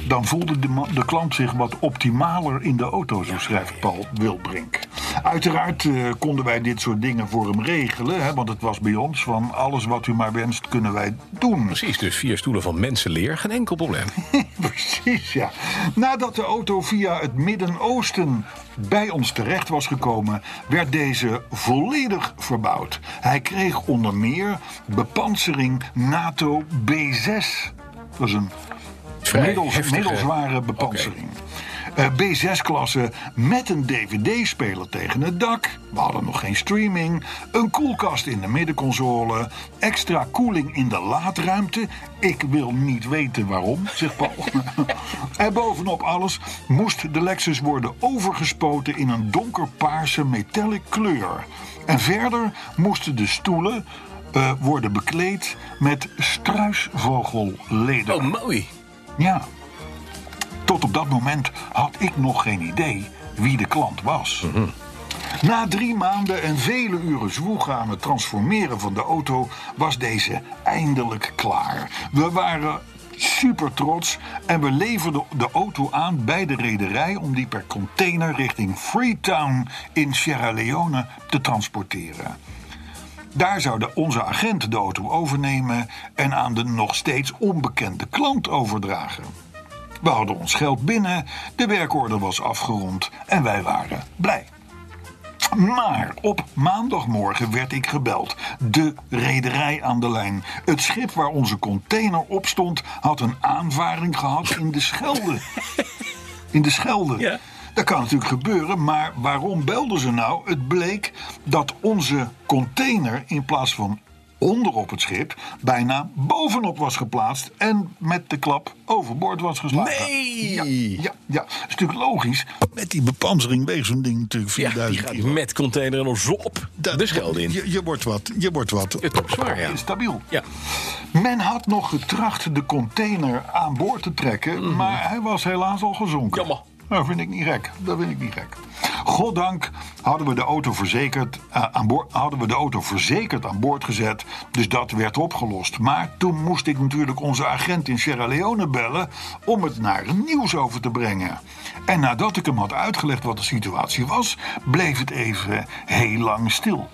[SPEAKER 2] dan voelde de, ma- de klant zich wat optimaler in de auto, zo schrijft Paul Wilbrink. Uiteraard eh, konden wij dit soort dingen voor hem regelen, hè, want het was bij ons van alles wat u maar wenst kunnen wij doen.
[SPEAKER 3] Precies, dus vier stoelen van mensenleer, geen enkel probleem.
[SPEAKER 2] Precies, ja. Nadat de auto via het Midden-Oosten bij ons terecht was gekomen, werd deze volledig verbouwd. Hij kreeg onder meer bepansering NATO B6. Dat is een
[SPEAKER 3] Vrij
[SPEAKER 2] middels,
[SPEAKER 3] heftige-
[SPEAKER 2] middelzware bepansering. Eh, B6-klasse met een DVD-speler tegen het dak. We hadden nog geen streaming. Een koelkast in de middenconsole. Extra koeling in de laadruimte. Ik wil niet weten waarom, zegt Paul. en bovenop alles moest de Lexus worden overgespoten in een donkerpaarse metallic kleur. En verder moesten de stoelen eh, worden bekleed met struisvogelleder.
[SPEAKER 3] Oh, mooi.
[SPEAKER 2] Ja. Tot op dat moment had ik nog geen idee wie de klant was. Na drie maanden en vele uren zwoeg aan het transformeren van de auto was deze eindelijk klaar. We waren super trots en we leverden de auto aan bij de rederij om die per container richting Freetown in Sierra Leone te transporteren. Daar zou de- onze agent de auto overnemen en aan de nog steeds onbekende klant overdragen. We hadden ons geld binnen, de werkorder was afgerond en wij waren blij. Maar op maandagmorgen werd ik gebeld. De rederij aan de lijn. Het schip waar onze container op stond had een aanvaring gehad in de Schelde. In de Schelde.
[SPEAKER 3] Ja.
[SPEAKER 2] Dat kan natuurlijk gebeuren, maar waarom belden ze nou? Het bleek dat onze container in plaats van onder op het schip bijna bovenop was geplaatst en met de klap overboord was geslagen.
[SPEAKER 3] Nee!
[SPEAKER 2] Ja, ja, ja. Dat is natuurlijk logisch.
[SPEAKER 6] Met die bepansering weegt zo'n ding natuurlijk
[SPEAKER 3] Ja, die
[SPEAKER 6] 4000
[SPEAKER 3] gaat
[SPEAKER 6] kilo.
[SPEAKER 3] met container en zo op
[SPEAKER 6] Dat-
[SPEAKER 3] de schelde in.
[SPEAKER 6] Je, je wordt wat, je wordt wat.
[SPEAKER 3] Het top zwaar, ja.
[SPEAKER 2] Instabiel.
[SPEAKER 3] Ja,
[SPEAKER 2] Men had nog getracht de container aan boord te trekken, maar hij was helaas al gezonken.
[SPEAKER 3] Mhm. Jammer.
[SPEAKER 2] Dat vind ik niet gek. Dat vind ik niet gek. Goddank hadden we de auto verzekerd, eh, aan boord, hadden we de auto verzekerd aan boord gezet. Dus dat werd opgelost. Maar toen moest ik natuurlijk onze agent in Sierra Leone bellen om het naar het nieuws over te brengen. En nadat ik hem had uitgelegd wat de situatie was, bleef het even heel lang stil.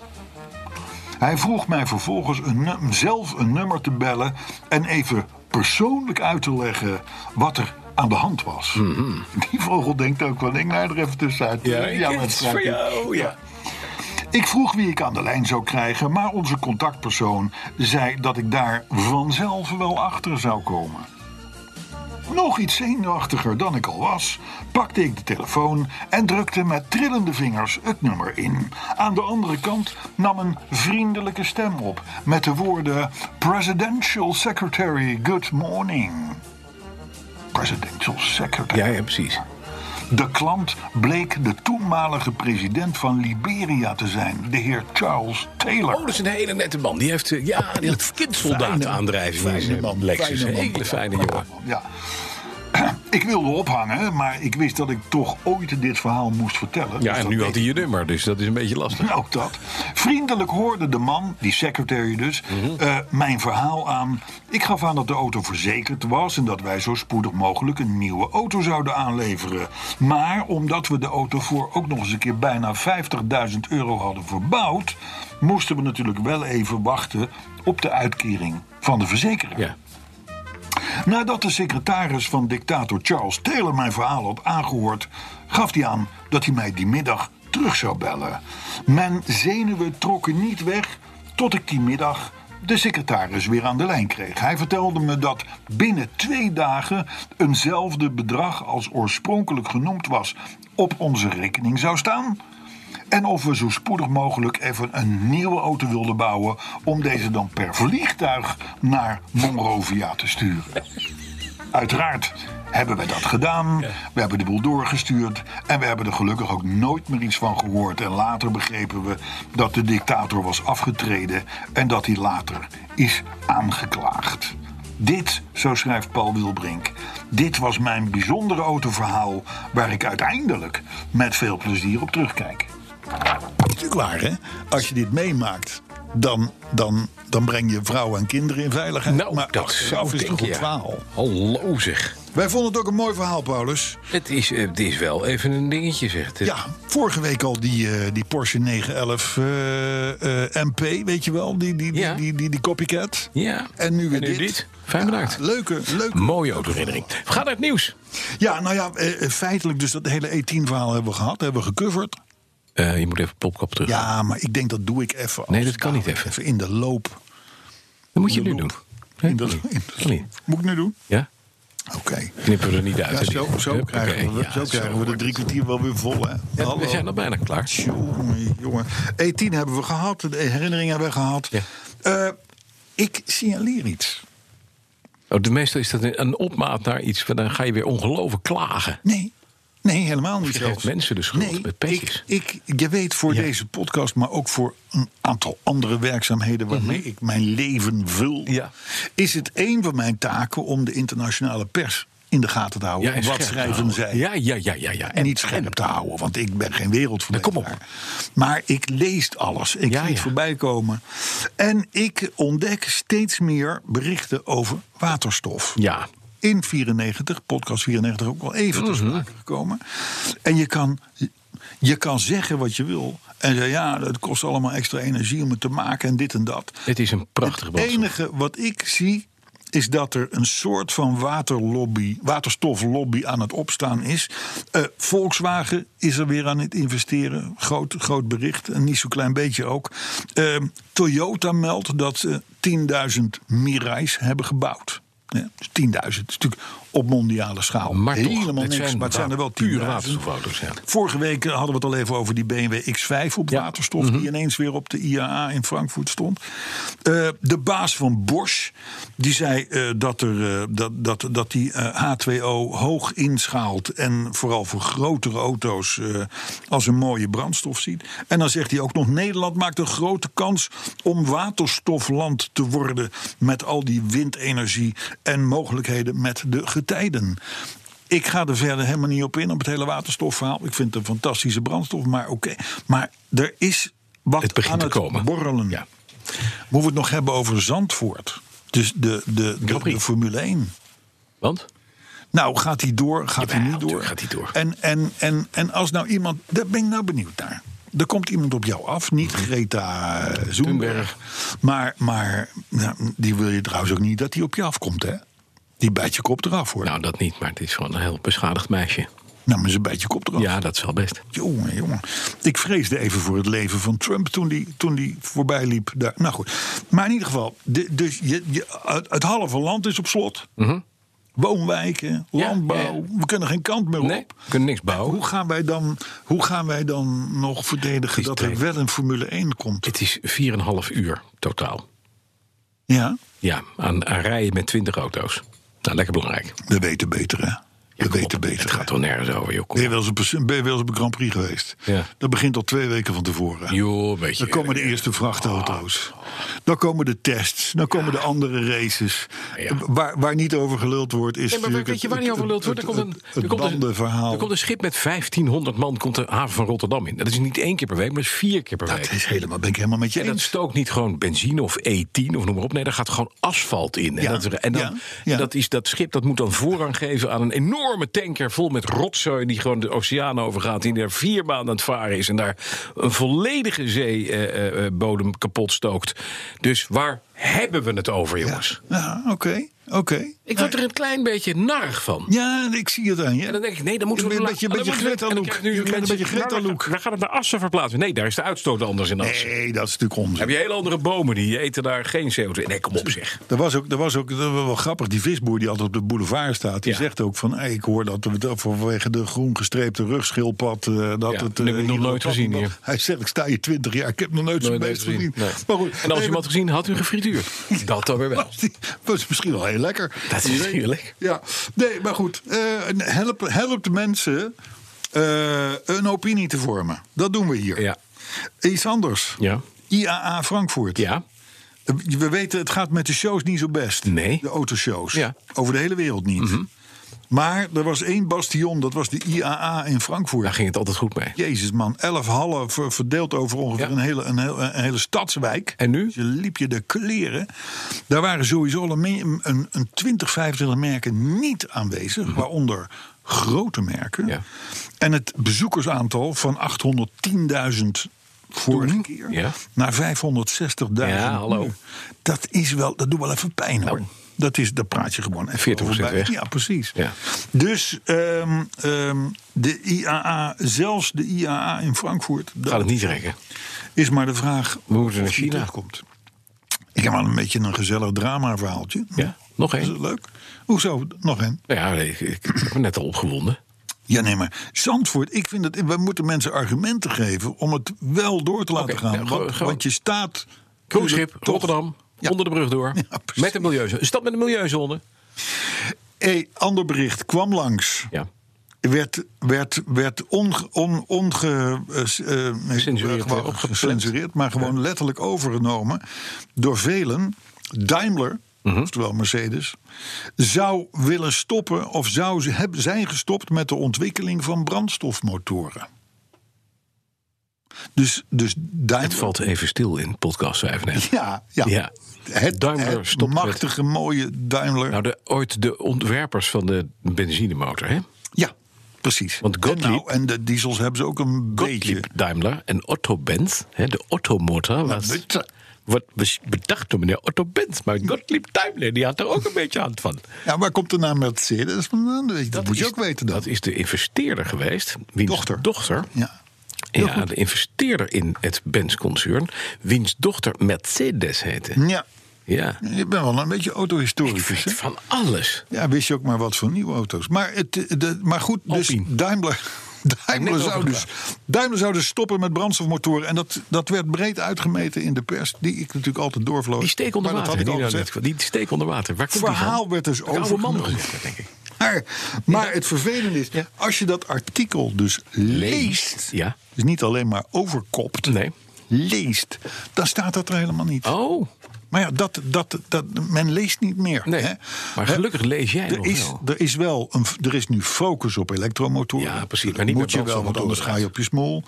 [SPEAKER 2] Hij vroeg mij vervolgens een num- zelf een nummer te bellen en even persoonlijk uit te leggen wat er aan de hand was.
[SPEAKER 3] Mhm.
[SPEAKER 2] Die vogel denkt ook wel, ik laat er even tussenuit.
[SPEAKER 3] het is voor
[SPEAKER 2] sprake.
[SPEAKER 3] jou, ja.
[SPEAKER 2] Ik vroeg wie ik aan de lijn zou krijgen, maar onze contactpersoon zei dat ik daar vanzelf wel achter zou komen. Nog iets zenuwachtiger dan ik al was, pakte ik de telefoon en drukte met trillende vingers het nummer in. Aan de andere kant nam een vriendelijke stem op met de woorden: Presidential Secretary, good morning. Presidential Secretary.
[SPEAKER 3] Ja, ja, precies. Oh,
[SPEAKER 2] De klant bleek de toenmalige president van Liberia te zijn, de heer Charles Taylor.
[SPEAKER 3] Oh, dat is een hele nette man. Die heeft, eh, ja, die had kindsoldaat aandrijving in
[SPEAKER 6] fijne man,
[SPEAKER 3] zijn Lexus.
[SPEAKER 6] fijne man.
[SPEAKER 3] Hele fijne jongen.
[SPEAKER 2] Ja. Ik wilde ophangen, maar ik wist dat ik toch ooit dit verhaal moest vertellen.
[SPEAKER 3] Ja,
[SPEAKER 2] Dus
[SPEAKER 3] en
[SPEAKER 2] dat
[SPEAKER 3] nu
[SPEAKER 2] deed
[SPEAKER 3] had hij je nummer, dus dat is een beetje lastig.
[SPEAKER 2] Ook dat. Vriendelijk hoorde de man, die secretary dus, eh, mijn verhaal aan. Ik gaf aan dat de auto verzekerd was en dat wij zo spoedig mogelijk een nieuwe auto zouden aanleveren. Maar omdat we de auto voor ook nog eens een keer bijna 50.000 euro hadden verbouwd, moesten we natuurlijk wel even wachten op de uitkering van de verzekeraar.
[SPEAKER 3] Ja.
[SPEAKER 2] Nadat de secretaris van dictator Charles Taylor mijn verhaal had aangehoord, gaf hij aan dat hij mij die middag terug zou bellen. Mijn zenuwen trokken niet weg tot ik die middag de secretaris weer aan de lijn kreeg. Hij vertelde me dat binnen twee dagen eenzelfde bedrag als oorspronkelijk genoemd was op onze rekening zou staan. En of we zo spoedig mogelijk even een nieuwe auto wilden bouwen. om deze dan per vliegtuig naar Monrovia te sturen. Uiteraard hebben we dat gedaan. We hebben de boel doorgestuurd. En we hebben er gelukkig ook nooit meer iets van gehoord. En later begrepen we dat de dictator was afgetreden. en dat hij later is aangeklaagd. Dit, zo schrijft Paul Wilbrink. Dit was mijn bijzondere autoverhaal. waar ik uiteindelijk met veel plezier op terugkijk.
[SPEAKER 6] Dat is natuurlijk waar, hè? Als je dit meemaakt, dan, dan, dan breng je vrouwen en kinderen in veiligheid.
[SPEAKER 3] Nou,
[SPEAKER 6] maar
[SPEAKER 3] dat
[SPEAKER 6] achteraf
[SPEAKER 3] zou
[SPEAKER 6] is
[SPEAKER 3] ik
[SPEAKER 6] toch
[SPEAKER 3] denken,
[SPEAKER 6] een
[SPEAKER 3] ja.
[SPEAKER 6] twaal.
[SPEAKER 3] Hallo zeg.
[SPEAKER 2] Wij vonden het ook een mooi verhaal, Paulus.
[SPEAKER 3] Het is, eh, het is wel even een dingetje, zegt het.
[SPEAKER 2] Ja, vorige week al die, eh, die Porsche 911 eh, eh, MP, weet je wel? Die, die, die,
[SPEAKER 3] Ja.
[SPEAKER 2] die, die, die copycat.
[SPEAKER 3] Ja.
[SPEAKER 2] En nu weer dit.
[SPEAKER 3] Fijn bedankt.
[SPEAKER 2] Ja, leuke, leuke.
[SPEAKER 3] Mooie autoherinnering. Ga naar het nieuws.
[SPEAKER 2] Ja, nou ja, eh, eh, feitelijk dus dat hele E10-verhaal hebben we gehad, hebben we gecoverd.
[SPEAKER 3] Eh, je moet even popkap terug.
[SPEAKER 2] Ja, maar ik denk dat doe ik even. als- nou
[SPEAKER 3] Nee, dat kan niet even.
[SPEAKER 2] Even in de loop.
[SPEAKER 3] Dat moet je
[SPEAKER 2] de
[SPEAKER 3] nu
[SPEAKER 2] loop.
[SPEAKER 3] doen. Nee,
[SPEAKER 2] In de-
[SPEAKER 3] kan niet.
[SPEAKER 2] in de-
[SPEAKER 3] Kan niet.
[SPEAKER 2] Moet ik nu doen?
[SPEAKER 3] Ja?
[SPEAKER 2] Oké.
[SPEAKER 3] Knippen we er niet uit.
[SPEAKER 2] Ja,
[SPEAKER 3] hè?
[SPEAKER 2] zo, zo
[SPEAKER 3] Hup,
[SPEAKER 2] krijgen
[SPEAKER 3] oké.
[SPEAKER 2] we,
[SPEAKER 3] Ja,
[SPEAKER 2] zo krijgen we
[SPEAKER 3] wordt
[SPEAKER 2] de drie kwartier wel weer vol, hè?
[SPEAKER 3] het. Ja,
[SPEAKER 2] Hallo.
[SPEAKER 3] we zijn al bijna klaar.
[SPEAKER 2] Jongen, jongen. E10 E hebben we gehad, de herinnering hebben we gehad.
[SPEAKER 3] Ja.
[SPEAKER 2] Eh, ik signaleer iets.
[SPEAKER 3] Oh, de meestal is dat een opmaat naar iets. maar Dan ga je weer ongelooflijk klagen.
[SPEAKER 2] Nee, nee helemaal niet
[SPEAKER 3] Je geeft
[SPEAKER 2] zelfs.
[SPEAKER 3] mensen de schuld
[SPEAKER 2] nee,
[SPEAKER 3] met petjes.
[SPEAKER 2] Ik, ik, je weet voor
[SPEAKER 3] Ja.
[SPEAKER 2] deze podcast, maar ook voor een aantal andere werkzaamheden... waarmee ik mijn leven vul...
[SPEAKER 3] Mhm. Ja.
[SPEAKER 2] is het een van mijn taken om de internationale pers in de gaten te houden.
[SPEAKER 3] en
[SPEAKER 2] wat
[SPEAKER 3] scherp te
[SPEAKER 2] schrijven
[SPEAKER 3] houden.
[SPEAKER 2] zij?
[SPEAKER 3] Ja, ja, ja, ja. ja.
[SPEAKER 2] En niet scherp te houden, want ik ben geen wereldverbeteraar.
[SPEAKER 3] Nou, kom op.
[SPEAKER 2] Maar ik lees alles. Ik
[SPEAKER 3] Ja,
[SPEAKER 2] zie het
[SPEAKER 3] ja.
[SPEAKER 2] voorbij komen. En ik ontdek steeds meer berichten over waterstof.
[SPEAKER 3] Ja.
[SPEAKER 2] In 94, podcast 94 ook wel even
[SPEAKER 3] Mhm.
[SPEAKER 2] te sprake gekomen. En je kan, je kan zeggen wat je wil. En zeggen, ja, het kost allemaal extra energie om het te maken en dit en dat.
[SPEAKER 3] Het is een prachtig
[SPEAKER 2] Het
[SPEAKER 3] boodschap.
[SPEAKER 2] enige wat ik zie is dat er een soort van waterlobby, waterstoflobby aan het opstaan is. Eh, Volkswagen is er weer aan het investeren. Groot, groot bericht, en niet zo'n klein beetje ook. Eh, Toyota meldt dat ze 10.000 Mirai's hebben gebouwd. Ja, dus 10.000, is natuurlijk op mondiale schaal.
[SPEAKER 3] Maar toch,
[SPEAKER 2] Helemaal
[SPEAKER 3] het
[SPEAKER 2] niks,
[SPEAKER 3] zijn
[SPEAKER 2] maar het zijn er wel 10.000.
[SPEAKER 3] pure waterstofauto's, ja.
[SPEAKER 2] Vorige week eh, hadden we het al even over die BMW X5 op
[SPEAKER 3] Ja.
[SPEAKER 2] waterstof, die ineens weer op de IAA in Frankfurt stond. Eh, de baas van Bosch, die zei eh, dat, er, eh, dat, dat, dat die eh, H2O hoog inschaalt en vooral voor grotere auto's eh, als een mooie brandstof ziet. En dan zegt hij ook nog: Nederland maakt een grote kans om waterstofland te worden met al die windenergie en mogelijkheden met de getijden. Ik ga er verder helemaal niet op in, op het hele waterstofverhaal. Ik vind het een fantastische brandstof, maar oké. Maar er is wat
[SPEAKER 3] Het begint
[SPEAKER 2] aan
[SPEAKER 3] te
[SPEAKER 2] het
[SPEAKER 3] komen.
[SPEAKER 2] borrelen.
[SPEAKER 3] Ja.
[SPEAKER 2] Moeten we het nog hebben over Zandvoort? Dus de, de, de,
[SPEAKER 3] Prix.
[SPEAKER 2] de Formule 1.
[SPEAKER 3] Want?
[SPEAKER 2] Nou, gaat die door? Gaat die
[SPEAKER 3] Jawel,
[SPEAKER 2] niet door?
[SPEAKER 3] tuurlijk gaat die door.
[SPEAKER 2] En, en, en, en als nou iemand... Daar ben ik nou benieuwd naar. Er komt iemand op jou af. Niet Greta eh, Zoenberg.
[SPEAKER 3] Thunberg.
[SPEAKER 2] Maar, maar nou, die wil je trouwens ook niet dat die op je afkomt, hè? Die bijt je kop eraf, hoor. Nou,
[SPEAKER 3] Nou, dat niet, maar het is gewoon een heel beschadigd meisje.
[SPEAKER 2] maar ze bijt je kop eraf.
[SPEAKER 3] Ja, dat is wel best.
[SPEAKER 2] Jongen, jongen. Ik vreesde even voor het leven van Trump toen die, toen die voorbij liep. Daar. Nou goed. Maar in ieder geval, de, dus je, je, het, het halve land is op slot. Woonwijken,
[SPEAKER 3] Mhm. Ja,
[SPEAKER 2] landbouw.
[SPEAKER 3] ja,
[SPEAKER 2] We kunnen geen kant meer
[SPEAKER 3] Nee,
[SPEAKER 2] op.
[SPEAKER 3] we kunnen niks bouwen.
[SPEAKER 2] Hoe gaan wij dan, hoe gaan wij dan nog verdedigen
[SPEAKER 3] is
[SPEAKER 2] dat er
[SPEAKER 3] tijd.
[SPEAKER 2] wel een Formule 1 komt?
[SPEAKER 3] Het is 4,5 uur totaal.
[SPEAKER 2] Ja,
[SPEAKER 3] Ja, aan, aan rijden met 20 auto's. Nou, lekker belangrijk.
[SPEAKER 2] we weten beter, hè?
[SPEAKER 3] Ja,
[SPEAKER 2] we
[SPEAKER 3] kom
[SPEAKER 2] weten
[SPEAKER 3] op,
[SPEAKER 2] beter.
[SPEAKER 3] Het gaat
[SPEAKER 2] hè?
[SPEAKER 3] toch nergens over, joh. Kom
[SPEAKER 2] Ben je
[SPEAKER 3] op.
[SPEAKER 2] wel eens op een- ben je wel eens op een Grand Prix geweest?
[SPEAKER 3] Ja.
[SPEAKER 2] Dat begint al twee weken van tevoren.
[SPEAKER 3] Joh, weet je.
[SPEAKER 2] Dan komen de eerste vrachtauto's. Dan komen de tests. Dan komen de andere races.
[SPEAKER 3] Ja.
[SPEAKER 2] Waar, waar niet over geluld wordt is.
[SPEAKER 3] Nee, maar waar-
[SPEAKER 2] natuurlijk
[SPEAKER 3] weet je
[SPEAKER 2] het-
[SPEAKER 3] waar niet over lult wordt? Er
[SPEAKER 2] Het,
[SPEAKER 3] komt
[SPEAKER 2] het,
[SPEAKER 3] een,
[SPEAKER 2] het
[SPEAKER 3] er komt een,
[SPEAKER 2] bandenverhaal.
[SPEAKER 3] er komt een schip met 1500 man komt de haven van Rotterdam in. Dat is niet één keer per week, maar dat is vier keer per week.
[SPEAKER 2] Dat is helemaal, ben ik helemaal met je
[SPEAKER 3] En dat
[SPEAKER 2] eens.
[SPEAKER 3] stookt niet gewoon benzine of E10 of noem maar op. Nee, daar gaat gewoon asfalt in. En,
[SPEAKER 2] Ja,
[SPEAKER 3] dat, en dan,
[SPEAKER 2] ja, ja.
[SPEAKER 3] en Dat, is, dat schip dat moet dan voorrang geven aan een enorme tanker vol met rotzooi. die gewoon de oceaan overgaat. die er vier maanden aan het varen is. en daar een volledige eh, zeebodem kapot stookt. Dus waar hebben we het over, jongens?
[SPEAKER 2] Ja, oké. oké.
[SPEAKER 3] Ik word er een klein beetje narig van.
[SPEAKER 2] Ja, ik zie het aan je.
[SPEAKER 3] En dan denk ik, nee, dan moeten we...
[SPEAKER 2] Een beetje-
[SPEAKER 3] en dan
[SPEAKER 2] beetje
[SPEAKER 3] moeten we- en
[SPEAKER 2] Greta-look.
[SPEAKER 3] dan krijg ik nu
[SPEAKER 2] Je
[SPEAKER 3] zo'n
[SPEAKER 2] bent een
[SPEAKER 3] mensen-
[SPEAKER 2] beetje Greta-look.
[SPEAKER 3] We gaan het naar Assen verplaatsen. Nee, daar is de uitstoot anders in Assen.
[SPEAKER 2] Nee, dat is natuurlijk onzin.
[SPEAKER 3] Heb je hele andere bomen, die eten daar geen CO2. Nee, kom op zeg.
[SPEAKER 2] Er was ook, er was ook dat was wel grappig, die visboer die altijd op de boulevard staat. Die
[SPEAKER 3] Ja.
[SPEAKER 2] zegt ook van, hey, ik hoor dat we dat vanwege de groen gestreepte rugschildpad... eh, dat
[SPEAKER 3] Ja,
[SPEAKER 2] het,
[SPEAKER 3] dat
[SPEAKER 2] eh,
[SPEAKER 3] heb ik nog
[SPEAKER 2] hier
[SPEAKER 3] nooit
[SPEAKER 2] dat-
[SPEAKER 3] gezien
[SPEAKER 2] dat-
[SPEAKER 3] hier.
[SPEAKER 2] Hij zegt, ik sta hier twintig jaar, ik heb nog nooit zo'n beest gezien. Maar goed,
[SPEAKER 3] en als
[SPEAKER 2] nee,
[SPEAKER 3] je hem had gezien, had u gefrituurd. Dat dan weer wel.
[SPEAKER 2] was, die- was misschien wel heel lekker.
[SPEAKER 3] Dat is natuurlijk.
[SPEAKER 2] Ja, nee, maar goed. eh, help, help de mensen eh, een opinie te vormen. Dat doen we hier.
[SPEAKER 3] Ja.
[SPEAKER 2] Iets anders.
[SPEAKER 3] Ja.
[SPEAKER 2] IAA Frankfurt.
[SPEAKER 3] Ja.
[SPEAKER 2] Eh, We weten, het gaat met de shows niet zo best.
[SPEAKER 3] Nee.
[SPEAKER 2] De autoshows.
[SPEAKER 3] Ja. Mhm.
[SPEAKER 2] Over de hele wereld niet. Maar er was één bastion, dat was de IAA in Frankfurt.
[SPEAKER 3] Daar ging het altijd goed mee.
[SPEAKER 2] Jezus man, elf hallen ver- verdeeld over ongeveer
[SPEAKER 3] Ja.
[SPEAKER 2] een, hele, een, heel- een hele stadswijk.
[SPEAKER 3] En nu?
[SPEAKER 2] Dus je liep je de kleren. Daar waren sowieso al een, me- een, een 20, 25 merken niet aanwezig. Waaronder grote merken.
[SPEAKER 3] Mhm. Ja.
[SPEAKER 2] En het bezoekersaantal van 810.000 vorige keer
[SPEAKER 3] Ja.
[SPEAKER 2] naar 560.000.
[SPEAKER 3] Ja, hallo.
[SPEAKER 2] nu. Dat is wel, dat doet wel even pijn hoor.
[SPEAKER 3] Nou.
[SPEAKER 2] Dat is, daar praat je gewoon even
[SPEAKER 3] 40%
[SPEAKER 2] over bij.
[SPEAKER 3] weg.
[SPEAKER 2] Ja, precies.
[SPEAKER 3] Ja.
[SPEAKER 2] Dus ehm, ehm, de IAA, zelfs de IAA in Frankfurt,
[SPEAKER 3] Gaat
[SPEAKER 2] dat
[SPEAKER 3] het niet rekken.
[SPEAKER 2] is maar de vraag
[SPEAKER 3] We moeten
[SPEAKER 2] of
[SPEAKER 3] naar
[SPEAKER 2] die
[SPEAKER 3] China.
[SPEAKER 2] terugkomt. Ik heb al een beetje een gezellig drama verhaaltje.
[SPEAKER 3] Ja, nog
[SPEAKER 2] Is
[SPEAKER 3] één.
[SPEAKER 2] dat leuk? Hoezo? Nog een?
[SPEAKER 3] Nou ja, ik, ik heb me net al opgewonden.
[SPEAKER 2] Ja, nee, maar Zandvoort, ik vind dat we moeten mensen argumenten geven om het wel door te laten
[SPEAKER 3] Oké,
[SPEAKER 2] gaan.
[SPEAKER 3] nou, gewoon-
[SPEAKER 2] want,
[SPEAKER 3] gewoon-
[SPEAKER 2] want je staat.
[SPEAKER 3] Cruiseschip,
[SPEAKER 2] toch-
[SPEAKER 3] Rotterdam,
[SPEAKER 2] Ja.
[SPEAKER 3] onder de brug door.
[SPEAKER 2] Ja, precies.
[SPEAKER 3] met een milieuzone. Een stad met een milieuzone.
[SPEAKER 2] Hey, ander bericht kwam langs.
[SPEAKER 3] Ja.
[SPEAKER 2] werd, werd, werd onge, on, onge, eh, s- eh, nee,
[SPEAKER 3] Gecensureerd,
[SPEAKER 2] gewoon
[SPEAKER 3] eh, opgeplept.
[SPEAKER 2] gecensureerd, maar gewoon letterlijk overgenomen door velen. Daimler,
[SPEAKER 3] Mhm.
[SPEAKER 2] oftewel Mercedes, zou willen stoppen of zou ze hebben, zijn gestopt met de ontwikkeling van brandstofmotoren. Dus, dus Daimler.
[SPEAKER 3] Het valt even stil in podcast 95.
[SPEAKER 2] Ja, ja.
[SPEAKER 3] Ja.
[SPEAKER 2] Het,
[SPEAKER 3] Daimler
[SPEAKER 2] het
[SPEAKER 3] stopt met-
[SPEAKER 2] machtige, mooie Daimler.
[SPEAKER 3] Nou, de, ooit de ontwerpers van de benzinemotor, hè?
[SPEAKER 2] ja, precies.
[SPEAKER 3] Want
[SPEAKER 2] en, nou,
[SPEAKER 3] Gottlieb-
[SPEAKER 2] en de diesels hebben ze ook een beetje.
[SPEAKER 3] Gottlieb Daimler en Otto Benz, hè, de Otto-motor, was,
[SPEAKER 2] bitte.
[SPEAKER 3] wordt bes- bedacht door meneer Otto Benz. Maar Gottlieb Daimler, die had er ook een beetje aan van.
[SPEAKER 2] Ja, waar komt de naam Mercedes vandaan? Dat, weet je- dat moet je
[SPEAKER 3] is-
[SPEAKER 2] ook weten dan.
[SPEAKER 3] Dat is de investeerder geweest. Wiens
[SPEAKER 2] Dochter.
[SPEAKER 3] dochter
[SPEAKER 2] ja.
[SPEAKER 3] ja, de investeerder in het Benz-concern. Wiens dochter Mercedes heette.
[SPEAKER 2] Hm. ja,
[SPEAKER 3] Ja.
[SPEAKER 2] je bent wel een beetje
[SPEAKER 3] Ik
[SPEAKER 2] autohistoricus.
[SPEAKER 3] weet
[SPEAKER 2] hè?
[SPEAKER 3] van alles.
[SPEAKER 2] Ja, wist je ook maar wat voor nieuwe auto's. Maar, het, eh, de, maar goed, dus
[SPEAKER 3] Alpine.
[SPEAKER 2] Daimler, Daimler,
[SPEAKER 3] Net
[SPEAKER 2] zou dus, Daimler zou dus stoppen met brandstofmotoren. En dat, dat werd breed uitgemeten in de pers, die ik natuurlijk altijd doorvloot.
[SPEAKER 3] Die steek onder
[SPEAKER 2] maar dat
[SPEAKER 3] water.
[SPEAKER 2] had ik
[SPEAKER 3] hè,
[SPEAKER 2] al
[SPEAKER 3] die, nou
[SPEAKER 2] gezegd.
[SPEAKER 3] net- die steek onder water. Waar komt die van?
[SPEAKER 2] verhaal werd dus
[SPEAKER 3] Een oude man
[SPEAKER 2] overgenomen.
[SPEAKER 3] gezegd, denk ik.
[SPEAKER 2] Maar, maar het vervelende is, als je dat artikel dus leest...
[SPEAKER 3] Ja.
[SPEAKER 2] dus niet alleen maar overkopt,
[SPEAKER 3] Nee.
[SPEAKER 2] leest... dan staat dat er helemaal niet.
[SPEAKER 3] Oh,
[SPEAKER 2] Maar ja, dat, dat, dat, men leest niet meer.
[SPEAKER 3] nee.
[SPEAKER 2] hè?
[SPEAKER 3] Maar
[SPEAKER 2] Hè?
[SPEAKER 3] gelukkig lees jij nog
[SPEAKER 2] Er is,
[SPEAKER 3] wel.
[SPEAKER 2] er is wel een, er is nu focus op elektromotoren.
[SPEAKER 3] Ja, precies, maar
[SPEAKER 2] Dat
[SPEAKER 3] niet
[SPEAKER 2] moet
[SPEAKER 3] met
[SPEAKER 2] je wel, want anders ga
[SPEAKER 3] brandstofmotoren.
[SPEAKER 2] je op je smoel.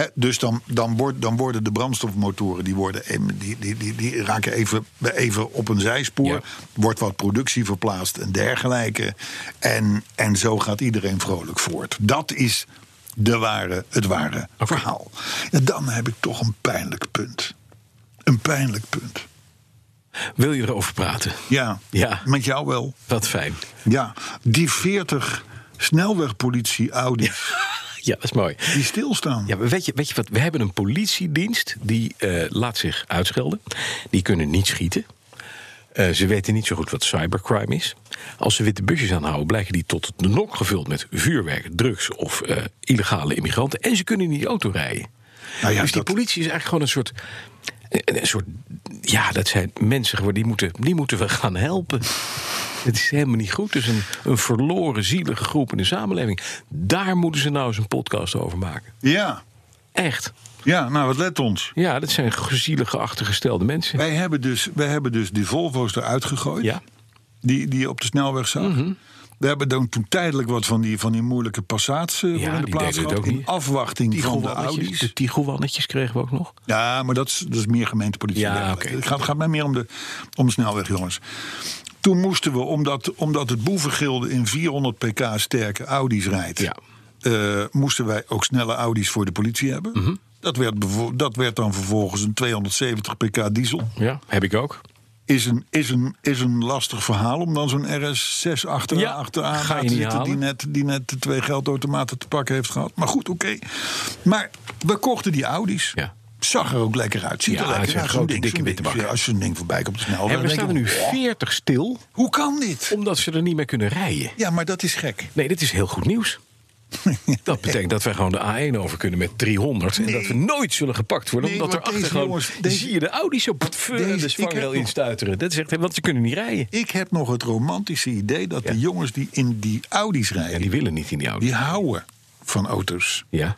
[SPEAKER 2] Hè, dus dan, dan, wordt, dan worden de brandstofmotoren die worden, em- die, die, die, die raken even, even op een zijspoor.
[SPEAKER 3] Ja.
[SPEAKER 2] Wordt wat productie verplaatst en dergelijke. En, en zo gaat iedereen vrolijk voort. Dat is de ware, het ware verhaal. En dan heb ik toch een pijnlijk punt. Een pijnlijk punt.
[SPEAKER 3] Wil je erover praten?
[SPEAKER 2] Ja,
[SPEAKER 3] Ja.
[SPEAKER 2] met jou wel.
[SPEAKER 3] Wat fijn.
[SPEAKER 2] Ja, die 40 snelwegpolitie Audi's
[SPEAKER 3] Ja, dat is mooi.
[SPEAKER 2] die stilstaan.
[SPEAKER 3] Ja, maar weet je, weet je wat? We hebben een politiedienst die eh, laat zich uitschelden. Die kunnen niet schieten. Eh, ze weten niet zo goed wat cybercrime is. Als ze witte busjes aanhouden, blijken die tot de nok gevuld met vuurwerk, drugs of eh, illegale immigranten. En ze kunnen niet auto rijden.
[SPEAKER 2] Nou ja,
[SPEAKER 3] dus die
[SPEAKER 2] dat-
[SPEAKER 3] politie is eigenlijk gewoon een soort. Een een soort ja, dat zijn mensen geworden. Die moeten, die moeten we gaan helpen. Het is helemaal niet goed. Dus een, een verloren, zielige groep in de samenleving. Daar moeten ze nou eens een podcast over maken.
[SPEAKER 2] Ja,
[SPEAKER 3] Echt.
[SPEAKER 2] ja, nou wat let ons.
[SPEAKER 3] Ja, dat zijn gezielige achtergestelde mensen.
[SPEAKER 2] Wij hebben dus, wij hebben dus die Volvo's eruit gegooid.
[SPEAKER 3] Ja. Mhm.
[SPEAKER 2] Die, die je op de snelweg zag. We hebben dan toen tijdelijk wat van die, van die moeilijke Passats eh, voor in de
[SPEAKER 3] die
[SPEAKER 2] plaats
[SPEAKER 3] deden het
[SPEAKER 2] gehad.
[SPEAKER 3] ook
[SPEAKER 2] in
[SPEAKER 3] niet.
[SPEAKER 2] afwachting van de
[SPEAKER 3] Tiguanetjes,
[SPEAKER 2] Audi's.
[SPEAKER 3] de Tiguanetjes kregen we ook nog.
[SPEAKER 2] Ja, maar dat is, dat is meer gemeentepolitie.
[SPEAKER 3] Ja,
[SPEAKER 2] dergelijke.
[SPEAKER 3] oké.
[SPEAKER 2] Het gaat, gaat mij meer om de, om de snelweg, jongens. Toen moesten we, omdat, omdat het boevengilde in 400 pk sterke Audi's rijdt...
[SPEAKER 3] Ja.
[SPEAKER 2] eh, moesten wij ook snelle Audi's voor de politie hebben.
[SPEAKER 3] Mhm.
[SPEAKER 2] dat, werd bevo- dat werd dan vervolgens een 270 pk diesel.
[SPEAKER 3] Ja, heb ik ook.
[SPEAKER 2] Is een, is een, is een lastig verhaal om dan zo'n RS6 achteraan,
[SPEAKER 3] Ja,
[SPEAKER 2] achteraan
[SPEAKER 3] ga
[SPEAKER 2] na
[SPEAKER 3] je
[SPEAKER 2] te
[SPEAKER 3] niet
[SPEAKER 2] zitten... Die
[SPEAKER 3] halen.
[SPEAKER 2] net, die net de twee geldautomaten te pakken heeft gehad. Maar goed, oké. Maar we kochten die Audi's.
[SPEAKER 3] Ja.
[SPEAKER 2] Zag er ook lekker uit. Ziet
[SPEAKER 3] Ja,
[SPEAKER 2] er
[SPEAKER 3] het
[SPEAKER 2] lekker
[SPEAKER 3] zijn
[SPEAKER 2] uit. Zo'n
[SPEAKER 3] grote,
[SPEAKER 2] ding,
[SPEAKER 3] dikke
[SPEAKER 2] zo'n
[SPEAKER 3] witte
[SPEAKER 2] ding.
[SPEAKER 3] bakken.
[SPEAKER 2] Als zo'n ding voorbij komt op de snelweg...
[SPEAKER 3] En er
[SPEAKER 2] dan
[SPEAKER 3] staan er
[SPEAKER 2] denk
[SPEAKER 3] nu
[SPEAKER 2] je, "Wow,
[SPEAKER 3] 40 stil,
[SPEAKER 2] Hoe kan dit?
[SPEAKER 3] omdat ze er niet meer kunnen rijden.
[SPEAKER 2] Ja, maar dat is gek.
[SPEAKER 3] Nee, dit is heel goed nieuws. Dat betekent dat wij gewoon de A1 over kunnen met 300. En dat we nooit zullen gepakt worden.
[SPEAKER 2] Nee,
[SPEAKER 3] omdat
[SPEAKER 2] want
[SPEAKER 3] er achter
[SPEAKER 2] deze
[SPEAKER 3] gewoon
[SPEAKER 2] jongens, deze-
[SPEAKER 3] zie je de Audi zo pff,
[SPEAKER 2] Deze-
[SPEAKER 3] de
[SPEAKER 2] ik heb
[SPEAKER 3] spangrail
[SPEAKER 2] nog-
[SPEAKER 3] instuiteren. Dat zegt, want ze kunnen niet rijden.
[SPEAKER 2] Ik heb nog het romantische idee dat
[SPEAKER 3] Ja.
[SPEAKER 2] de jongens die in die Audi's
[SPEAKER 3] En
[SPEAKER 2] rijden...
[SPEAKER 3] die willen niet in die Audi.
[SPEAKER 2] die houden van auto's.
[SPEAKER 3] Ja.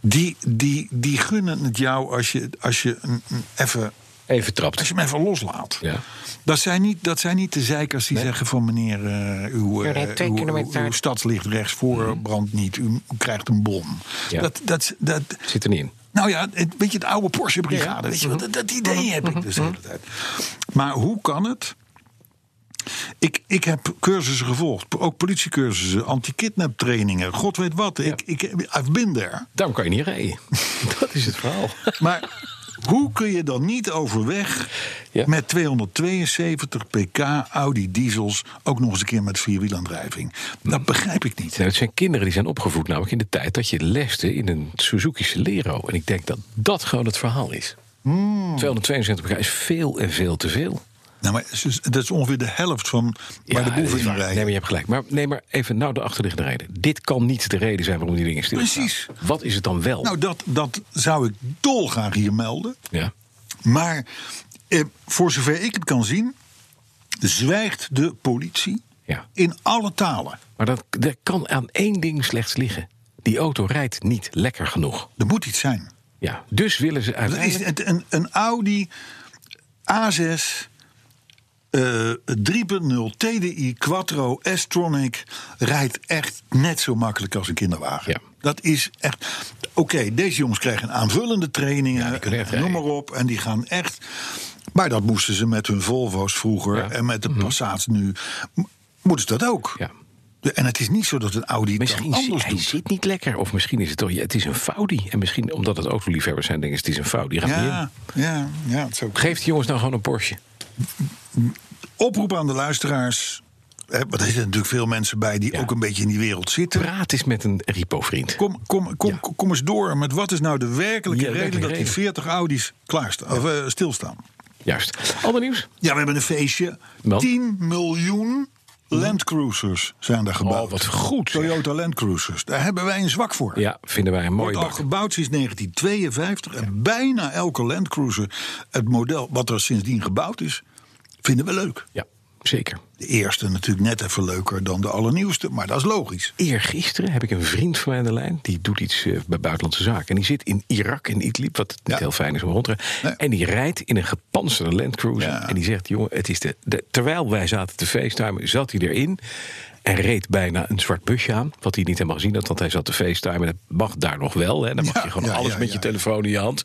[SPEAKER 2] Die, die, die gunnen het jou als je, als je een, een even
[SPEAKER 3] Even
[SPEAKER 2] Als
[SPEAKER 3] trapt.
[SPEAKER 2] je hem even loslaat.
[SPEAKER 3] Ja.
[SPEAKER 2] Dat, zijn niet, dat zijn niet de zeikers die zeggen van meneer, eh, uw, eh,
[SPEAKER 7] U rijdt twee
[SPEAKER 2] uw,
[SPEAKER 7] kilometer.
[SPEAKER 2] uw, uw stad ligt rechts voor, brandt niet, u krijgt een bom.
[SPEAKER 3] Mhm. Ja.
[SPEAKER 2] Dat, dat, dat,
[SPEAKER 3] Zit er niet in.
[SPEAKER 2] nou ja, het, weet je, het oude Porsche Brigade, weet je,
[SPEAKER 3] Mhm.
[SPEAKER 2] wel, dat, dat idee heb ik dus de hele tijd. Maar hoe kan het? Ik, ik heb cursussen gevolgd, ook politiecursussen, anti-kidnap trainingen, god weet wat. Ik, ik, I've been there.
[SPEAKER 3] Daarom kan je niet rijden. Dat is het verhaal.
[SPEAKER 2] Maar hoe kun je dan niet overweg
[SPEAKER 3] Ja.
[SPEAKER 2] met 272 pk Audi diesels ook nog eens een keer met vierwielaandrijving? Dat begrijp ik niet.
[SPEAKER 3] Nou, dat zijn kinderen die zijn opgevoed namelijk in de tijd dat je leste in een Suzuki Celero. En ik denk dat dat gewoon het verhaal is.
[SPEAKER 2] Hmm.
[SPEAKER 3] 272 pk is veel en veel te veel.
[SPEAKER 2] Nou, maar het is- dat is ongeveer de helft van waar de
[SPEAKER 3] dat
[SPEAKER 2] boeven
[SPEAKER 3] is waar.
[SPEAKER 2] in
[SPEAKER 3] Nee, maar je
[SPEAKER 2] rijden.
[SPEAKER 3] hebt gelijk. Maar nee, maar even nou de achterliggende reden. Dit kan niet de reden zijn waarom die dingen stil
[SPEAKER 2] Precies.
[SPEAKER 3] Wat is het dan wel?
[SPEAKER 2] Nou, dat, dat zou ik dolgraag hier melden.
[SPEAKER 3] ja.
[SPEAKER 2] Maar eh, voor zover ik het kan zien, zwijgt de politie
[SPEAKER 3] Ja.
[SPEAKER 2] in alle talen.
[SPEAKER 3] Maar dat, dat kan aan één ding slechts liggen. Die auto rijdt niet lekker genoeg.
[SPEAKER 2] Er moet iets zijn.
[SPEAKER 3] Ja. Dus willen ze
[SPEAKER 2] Dat is
[SPEAKER 3] uiteindelijk...
[SPEAKER 2] het- een, een Audi A6 eh, 3.0 TDI Quattro S-Tronic rijdt echt net zo makkelijk als een kinderwagen.
[SPEAKER 3] Ja.
[SPEAKER 2] Dat is echt. Oké, deze jongens krijgen aanvullende trainingen,
[SPEAKER 3] die kunnen echt
[SPEAKER 2] en noem maar
[SPEAKER 3] rijden.
[SPEAKER 2] op, en die gaan echt. Maar dat moesten ze met hun Volvo's vroeger
[SPEAKER 3] Ja. Mhm.
[SPEAKER 2] en met de Passats nu. M- Moeten ze dat ook?
[SPEAKER 3] Ja.
[SPEAKER 2] De- En het is niet zo dat een Audi het
[SPEAKER 3] Misschien
[SPEAKER 2] dan
[SPEAKER 3] zi-
[SPEAKER 2] anders
[SPEAKER 3] hij
[SPEAKER 2] doet.
[SPEAKER 3] zit niet lekker. Of misschien is het toch... ja, het is een Faudi. En misschien omdat het autoliefhebbers zijn denken ze het is een Faudi. Gaat niet in.
[SPEAKER 2] Ja, ja, ja, het is ook
[SPEAKER 3] Geef die jongens nou gewoon een Porsche.
[SPEAKER 2] oproep aan de luisteraars. Hè, want er zitten natuurlijk veel mensen bij die
[SPEAKER 3] Ja.
[SPEAKER 2] ook een beetje in die wereld zitten.
[SPEAKER 3] Praat eens met een repo-vriend.
[SPEAKER 2] Kom, kom, kom,
[SPEAKER 3] Ja.
[SPEAKER 2] kom eens door met wat is nou de werkelijke
[SPEAKER 3] Ja, de
[SPEAKER 2] reden
[SPEAKER 3] werkelijke
[SPEAKER 2] dat die
[SPEAKER 3] reden.
[SPEAKER 2] 40 Audi's klaarstaan, of, eh, stilstaan.
[SPEAKER 3] Juist. Ander nieuws?
[SPEAKER 2] Ja, we hebben een feestje.
[SPEAKER 3] Want?
[SPEAKER 2] 10 miljoen Land Cruisers zijn daar gebouwd.
[SPEAKER 3] Oh, wat goed, zeg.
[SPEAKER 2] Toyota Land Cruisers. Daar hebben wij een zwak voor.
[SPEAKER 3] Ja, vinden wij een mooie
[SPEAKER 2] Wordt al
[SPEAKER 3] bak.
[SPEAKER 2] gebouwd sinds 1952. En bijna elke Land Cruiser, het model wat er sindsdien gebouwd is, vinden we leuk.
[SPEAKER 3] Ja, zeker.
[SPEAKER 2] De eerste natuurlijk net even leuker dan de allernieuwste, maar dat is logisch.
[SPEAKER 3] Eergisteren heb ik een vriend van mij aan de lijn. Die doet iets eh, bij Buitenlandse Zaken. En die zit in Irak, in Idlib, wat niet
[SPEAKER 2] Ja.
[SPEAKER 3] heel fijn is om rond te rijden.
[SPEAKER 2] Nee.
[SPEAKER 3] En die rijdt in een gepantserde Land Cruiser.
[SPEAKER 2] Ja.
[SPEAKER 3] En die zegt, jongen, het is de, de- terwijl wij zaten te feesttimen, zat hij erin. En reed bijna een zwart busje aan. Wat hij niet helemaal gezien had, want hij zat te feesttimen. Dat mag daar nog wel. Hè. Dan mag
[SPEAKER 2] Ja,
[SPEAKER 3] je gewoon
[SPEAKER 2] ja,
[SPEAKER 3] alles
[SPEAKER 2] ja,
[SPEAKER 3] met
[SPEAKER 2] ja.
[SPEAKER 3] je telefoon in je hand.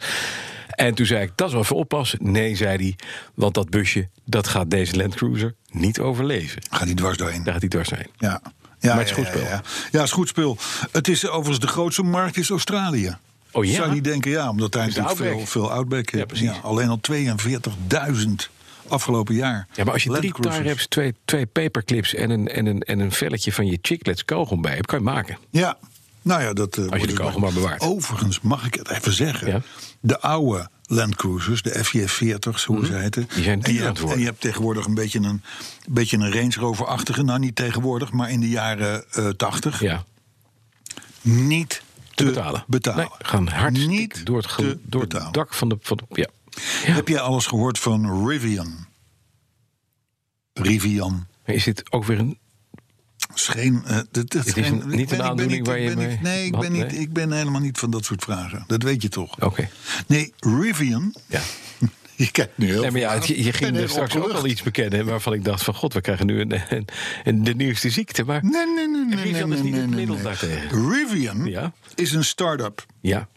[SPEAKER 3] En toen zei ik, dat is wel even oppassen. Nee, zei hij, want dat busje, dat gaat deze Land Cruiser niet overleven.
[SPEAKER 2] Ga die dwars doorheen.
[SPEAKER 3] Daar gaat hij dwars zijn.
[SPEAKER 2] Ja. Ja,
[SPEAKER 3] Maar het is goed
[SPEAKER 2] ja,
[SPEAKER 3] spul.
[SPEAKER 2] Ja, ja. Ja, het is goed spul. Het is overigens de grootste markt is Australië.
[SPEAKER 3] Oh ja?
[SPEAKER 2] Zou je niet denken, ja, omdat daar
[SPEAKER 3] Is de
[SPEAKER 2] natuurlijk veel,
[SPEAKER 3] Outback.
[SPEAKER 2] veel outback
[SPEAKER 3] Ja,
[SPEAKER 2] is.
[SPEAKER 3] precies.
[SPEAKER 2] alleen al 42.000 afgelopen jaar.
[SPEAKER 3] Ja, maar als je
[SPEAKER 2] Land
[SPEAKER 3] drie tar
[SPEAKER 2] Cruisers.
[SPEAKER 3] hebt, twee, twee paperclips en een, en, een, en een velletje van je chiclets kogel bij hebt, kan je maken.
[SPEAKER 2] Ja, nou ja, dat. eh, wordt
[SPEAKER 3] de
[SPEAKER 2] dus
[SPEAKER 3] kogel
[SPEAKER 2] bij-
[SPEAKER 3] maar bewaart.
[SPEAKER 2] Overigens mag ik het even zeggen.
[SPEAKER 3] Ja.
[SPEAKER 2] De oude Land Cruisers, de FJ40's, hoe ze heten.
[SPEAKER 3] Mhm. Die zijn
[SPEAKER 2] en, je
[SPEAKER 3] duur aan het
[SPEAKER 2] hebt,
[SPEAKER 3] worden.
[SPEAKER 2] en je hebt tegenwoordig een beetje een, een beetje een Range Rover-achtige. Nou, niet tegenwoordig, maar in de jaren eh 80.
[SPEAKER 3] Ja,
[SPEAKER 2] Niet te,
[SPEAKER 3] betalen.
[SPEAKER 2] betalen.
[SPEAKER 3] Nee, gaan hard
[SPEAKER 2] Niet
[SPEAKER 3] door het, ge-
[SPEAKER 2] te
[SPEAKER 3] door het
[SPEAKER 2] betalen.
[SPEAKER 3] dak van de. Van de- ja.
[SPEAKER 2] Heb jij alles gehoord van Rivian? Rivian.
[SPEAKER 3] Maar Is dit ook weer een.
[SPEAKER 2] Scheen, eh, dat, dat
[SPEAKER 3] Het is
[SPEAKER 2] scheen- ik
[SPEAKER 3] een- niet
[SPEAKER 2] ben-
[SPEAKER 3] een
[SPEAKER 2] ik ben
[SPEAKER 3] aandoening
[SPEAKER 2] niet- ik
[SPEAKER 3] waar je
[SPEAKER 2] ben niet-
[SPEAKER 3] mee-
[SPEAKER 2] Nee, ik
[SPEAKER 3] Wat?
[SPEAKER 2] ben, niet,
[SPEAKER 3] Nee. Oh,
[SPEAKER 2] ik ben helemaal niet van dat soort vragen. Dat weet je toch?
[SPEAKER 3] Oké.
[SPEAKER 2] Nee, Rivian.
[SPEAKER 3] Ja.
[SPEAKER 2] Je kijkt nu heel
[SPEAKER 3] Nee, maar ja, het- je, je
[SPEAKER 2] Ik ben
[SPEAKER 3] ging er
[SPEAKER 2] heel
[SPEAKER 3] straks ook
[SPEAKER 2] opgelucht.
[SPEAKER 3] al iets bekennen waarvan ik dacht: van god, we krijgen nu een, een, een- de nieuwste ziekte. Maar
[SPEAKER 2] Nee, nee, nee. nee,
[SPEAKER 3] Rivian
[SPEAKER 2] nee,
[SPEAKER 3] is niet
[SPEAKER 2] nee,
[SPEAKER 3] het
[SPEAKER 2] nee,
[SPEAKER 3] middel
[SPEAKER 2] nee.
[SPEAKER 3] daartegen.
[SPEAKER 2] Rivian
[SPEAKER 3] Ja.
[SPEAKER 2] is een start-up.
[SPEAKER 3] ja,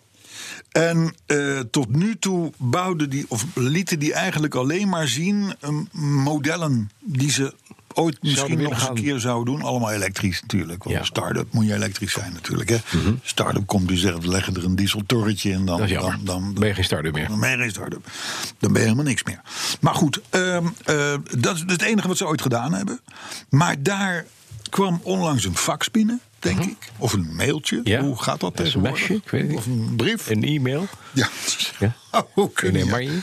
[SPEAKER 2] En eh, tot nu toe bouwden die, of lieten die eigenlijk alleen maar zien um, modellen die ze ooit misschien
[SPEAKER 3] willen
[SPEAKER 2] nog eens een
[SPEAKER 3] gaan.
[SPEAKER 2] keer zouden doen. Allemaal elektrisch natuurlijk. Want
[SPEAKER 3] Ja. Mhm.
[SPEAKER 2] een start-up moet je elektrisch zijn natuurlijk. Hè? Start-up komt dus zeggen, we leggen er een dieseltorretje in. Dan,
[SPEAKER 3] dat is
[SPEAKER 2] dan,
[SPEAKER 3] jammer.
[SPEAKER 2] dan,
[SPEAKER 3] ben je geen starter meer.
[SPEAKER 2] dan ben je geen start-up. Dan ben je helemaal niks meer. Maar goed, ehm, eh, dat is het enige wat ze ooit gedaan hebben. Maar daar kwam onlangs een fax binnen, denk ik. Of een mailtje.
[SPEAKER 3] Ja.
[SPEAKER 2] Hoe gaat dat
[SPEAKER 3] Een
[SPEAKER 2] tegenwoordig?
[SPEAKER 3] smsje, ik weet het niet.
[SPEAKER 2] Of een brief.
[SPEAKER 3] Een e-mail.
[SPEAKER 2] Ja. Oh,
[SPEAKER 3] Ja.
[SPEAKER 2] Hoe kun
[SPEAKER 3] Nee,
[SPEAKER 2] je-
[SPEAKER 3] maar je-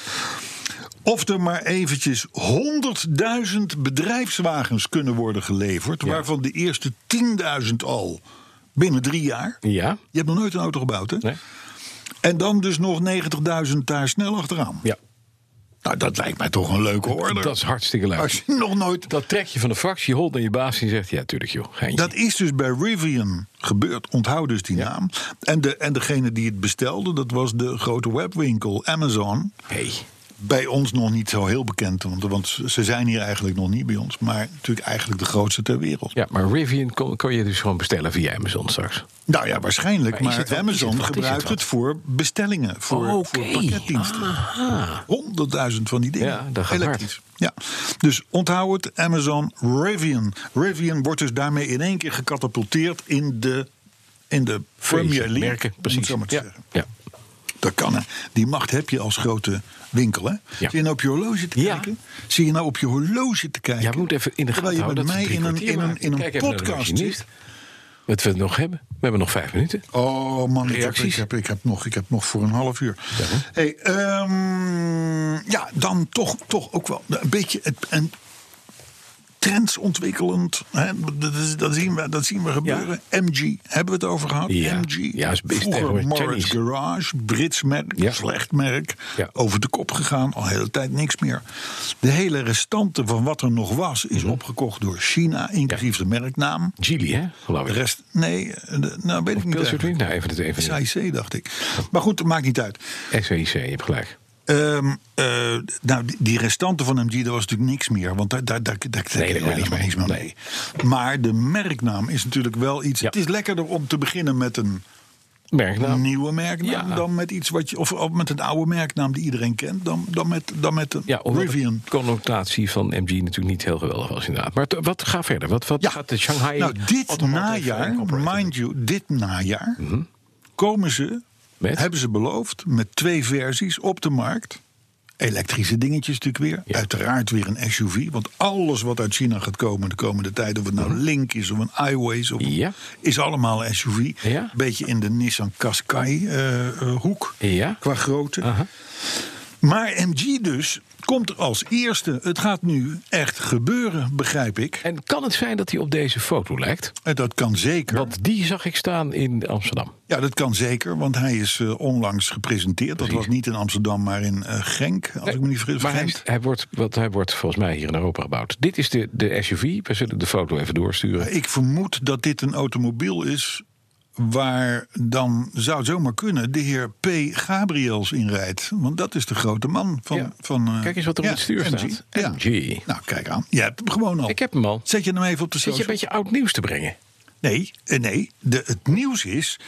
[SPEAKER 2] Of er maar eventjes 100.000 bedrijfswagens kunnen worden geleverd... waarvan de eerste 10.000 al binnen drie jaar.
[SPEAKER 3] Ja.
[SPEAKER 2] Je hebt nog nooit een auto gebouwd, hè?
[SPEAKER 3] Nee.
[SPEAKER 2] En dan dus nog 90.000 daar snel achteraan.
[SPEAKER 3] Ja.
[SPEAKER 2] Nou, dat lijkt mij toch een leuke orde.
[SPEAKER 3] Dat is hartstikke leuk.
[SPEAKER 2] Als je nog nooit...
[SPEAKER 3] Dat trek je van de fractie, je holt naar je baas en je zegt... ja, tuurlijk joh, geintje.
[SPEAKER 2] Dat is dus bij Rivian gebeurd. Onthoud dus die naam. En, de, en degene die het bestelde, dat was de grote webwinkel Amazon.
[SPEAKER 3] Hey.
[SPEAKER 2] bij ons nog niet zo heel bekend. Want, want ze zijn hier eigenlijk nog niet bij ons. Maar natuurlijk eigenlijk de grootste ter wereld.
[SPEAKER 3] Ja, maar Rivian kon, kon je dus gewoon bestellen via Amazon straks.
[SPEAKER 2] Nou ja, waarschijnlijk.
[SPEAKER 3] Maar is
[SPEAKER 2] Maar,
[SPEAKER 3] het wat?
[SPEAKER 2] Amazon
[SPEAKER 3] Is het wat? Is het
[SPEAKER 2] gebruikt
[SPEAKER 3] wat? Oh,
[SPEAKER 2] het voor bestellingen. Voor,
[SPEAKER 3] Oké.
[SPEAKER 2] voor pakketdiensten. Honderdduizend van die dingen.
[SPEAKER 3] Ja, dat gaat
[SPEAKER 2] Elektrisch. Ja. Dus onthoud het, Amazon Rivian. Rivian wordt dus daarmee in één keer gecatapulteerd in de, in de Premier League.
[SPEAKER 3] Merken,
[SPEAKER 2] om het
[SPEAKER 3] precies.
[SPEAKER 2] zo maar te
[SPEAKER 3] ja.
[SPEAKER 2] zeggen.
[SPEAKER 3] Ja.
[SPEAKER 2] Dat kan, hè. Die macht heb je als grote winkel, hè. Zie je nou op je horloge te
[SPEAKER 3] Ja.
[SPEAKER 2] kijken? Zie je nou op je horloge te kijken?
[SPEAKER 3] Ja, we moeten even in de gaten
[SPEAKER 2] Terwijl je
[SPEAKER 3] houden
[SPEAKER 2] met mij
[SPEAKER 3] dat we drie
[SPEAKER 2] in een,
[SPEAKER 3] kwartier
[SPEAKER 2] in een,
[SPEAKER 3] maken.
[SPEAKER 2] in een
[SPEAKER 3] Kijk even naar de
[SPEAKER 2] podcast
[SPEAKER 3] machinist.
[SPEAKER 2] zit.
[SPEAKER 3] Wat we nog hebben? We hebben nog vijf minuten.
[SPEAKER 2] Oh man, ik heb,
[SPEAKER 3] Reacties?
[SPEAKER 2] ik, heb, ik, heb nog, ik heb nog voor een half uur. hey, ehm, ja, dan toch, toch ook wel een beetje het, en trends ontwikkelend. Hè, dat, is- dat, zien we, dat zien we gebeuren. MG, hebben we het over gehad?
[SPEAKER 3] Ja.
[SPEAKER 2] MG,
[SPEAKER 3] Ja, is best
[SPEAKER 2] vroeger
[SPEAKER 3] tegenwoordig
[SPEAKER 2] Morris
[SPEAKER 3] Chinese.
[SPEAKER 2] Garage, Brits merk,
[SPEAKER 3] Ja.
[SPEAKER 2] slecht merk.
[SPEAKER 3] Ja.
[SPEAKER 2] Over de kop gegaan, al de hele tijd niks meer. De hele restante van wat er nog was, is
[SPEAKER 3] Mhm.
[SPEAKER 2] opgekocht door China, inclusief de merknaam.
[SPEAKER 3] Gili, hè? Geloof
[SPEAKER 2] De
[SPEAKER 3] ik.
[SPEAKER 2] rest, nee, eh, de- nou weet ik niet.
[SPEAKER 3] Pilsner
[SPEAKER 2] eigenlijk.
[SPEAKER 3] Twin? Nou, even het even.
[SPEAKER 2] SAIC, dacht ik. Maar goed, maakt niet uit.
[SPEAKER 3] SWIC, je hebt gelijk.
[SPEAKER 2] Ehm, eh, nou, die- die restanten van MG, daar was natuurlijk niks meer. Want daar, daar, daar, daar, daar kun
[SPEAKER 3] daar
[SPEAKER 2] je
[SPEAKER 3] kon je niks
[SPEAKER 2] helemaal
[SPEAKER 3] mee.
[SPEAKER 2] niks meer mee. Maar de merknaam is natuurlijk wel iets...
[SPEAKER 3] Ja.
[SPEAKER 2] Het is lekkerder om te beginnen met een
[SPEAKER 3] Merknaam.
[SPEAKER 2] nieuwe merknaam...
[SPEAKER 3] Ja.
[SPEAKER 2] dan met iets wat je... Of, of met een oude merknaam die iedereen kent... dan, dan, met, dan met een
[SPEAKER 3] Ja, omdat
[SPEAKER 2] Rivian.
[SPEAKER 3] de connotatie van MG natuurlijk niet heel geweldig was inderdaad. Maar t- wat ga verder? Wat, wat
[SPEAKER 2] Ja.
[SPEAKER 3] gaat de Shanghai...
[SPEAKER 2] nou, dit
[SPEAKER 3] Automotive
[SPEAKER 2] najaar,
[SPEAKER 3] Incorporated
[SPEAKER 2] mind you, dit najaar... komen ze,
[SPEAKER 3] Mhm. Met?
[SPEAKER 2] hebben ze beloofd, met twee versies op de markt. Elektrische dingetjes natuurlijk weer. Uiteraard weer een SUV. Want alles wat uit China gaat komen de komende tijd... of het nou Link is of een iWays... Of,
[SPEAKER 3] Mhm. Ja.
[SPEAKER 2] is allemaal SUV.
[SPEAKER 3] Ja.
[SPEAKER 2] Beetje in de Nissan Qashqai-hoek
[SPEAKER 3] Ja.
[SPEAKER 2] qua grootte.
[SPEAKER 3] Aha.
[SPEAKER 2] Maar MG dus komt er als eerste. Het gaat nu echt gebeuren, begrijp ik.
[SPEAKER 3] En kan het zijn dat hij op deze foto lijkt?
[SPEAKER 2] En dat kan zeker.
[SPEAKER 3] Want die zag ik staan in Amsterdam.
[SPEAKER 2] Ja, dat kan zeker, want hij is eh, onlangs gepresenteerd. Dat was niet in Amsterdam, maar in eh, Genk, als ik me niet vergis.
[SPEAKER 3] maar hij,
[SPEAKER 2] Genk.
[SPEAKER 3] hij, wordt, want hij wordt volgens mij hier in Europa gebouwd. Dit is de, de SUV. We zullen de foto even doorsturen.
[SPEAKER 2] Ik vermoed dat dit een automobiel is waar dan, zou het zomaar kunnen, de heer P. Gabriels in rijdt. Want dat is de grote man van...
[SPEAKER 3] Ja.
[SPEAKER 2] van eh,
[SPEAKER 3] Kijk eens wat er op het stuur staat.
[SPEAKER 2] Ja.
[SPEAKER 3] MG.
[SPEAKER 2] Nou, kijk aan. Je hebt hem gewoon al.
[SPEAKER 3] Ik heb hem al.
[SPEAKER 2] Zet je hem even op de
[SPEAKER 3] Zit je een
[SPEAKER 2] social.
[SPEAKER 3] beetje oud nieuws te brengen?
[SPEAKER 2] Nee, eh, nee de, het nieuws is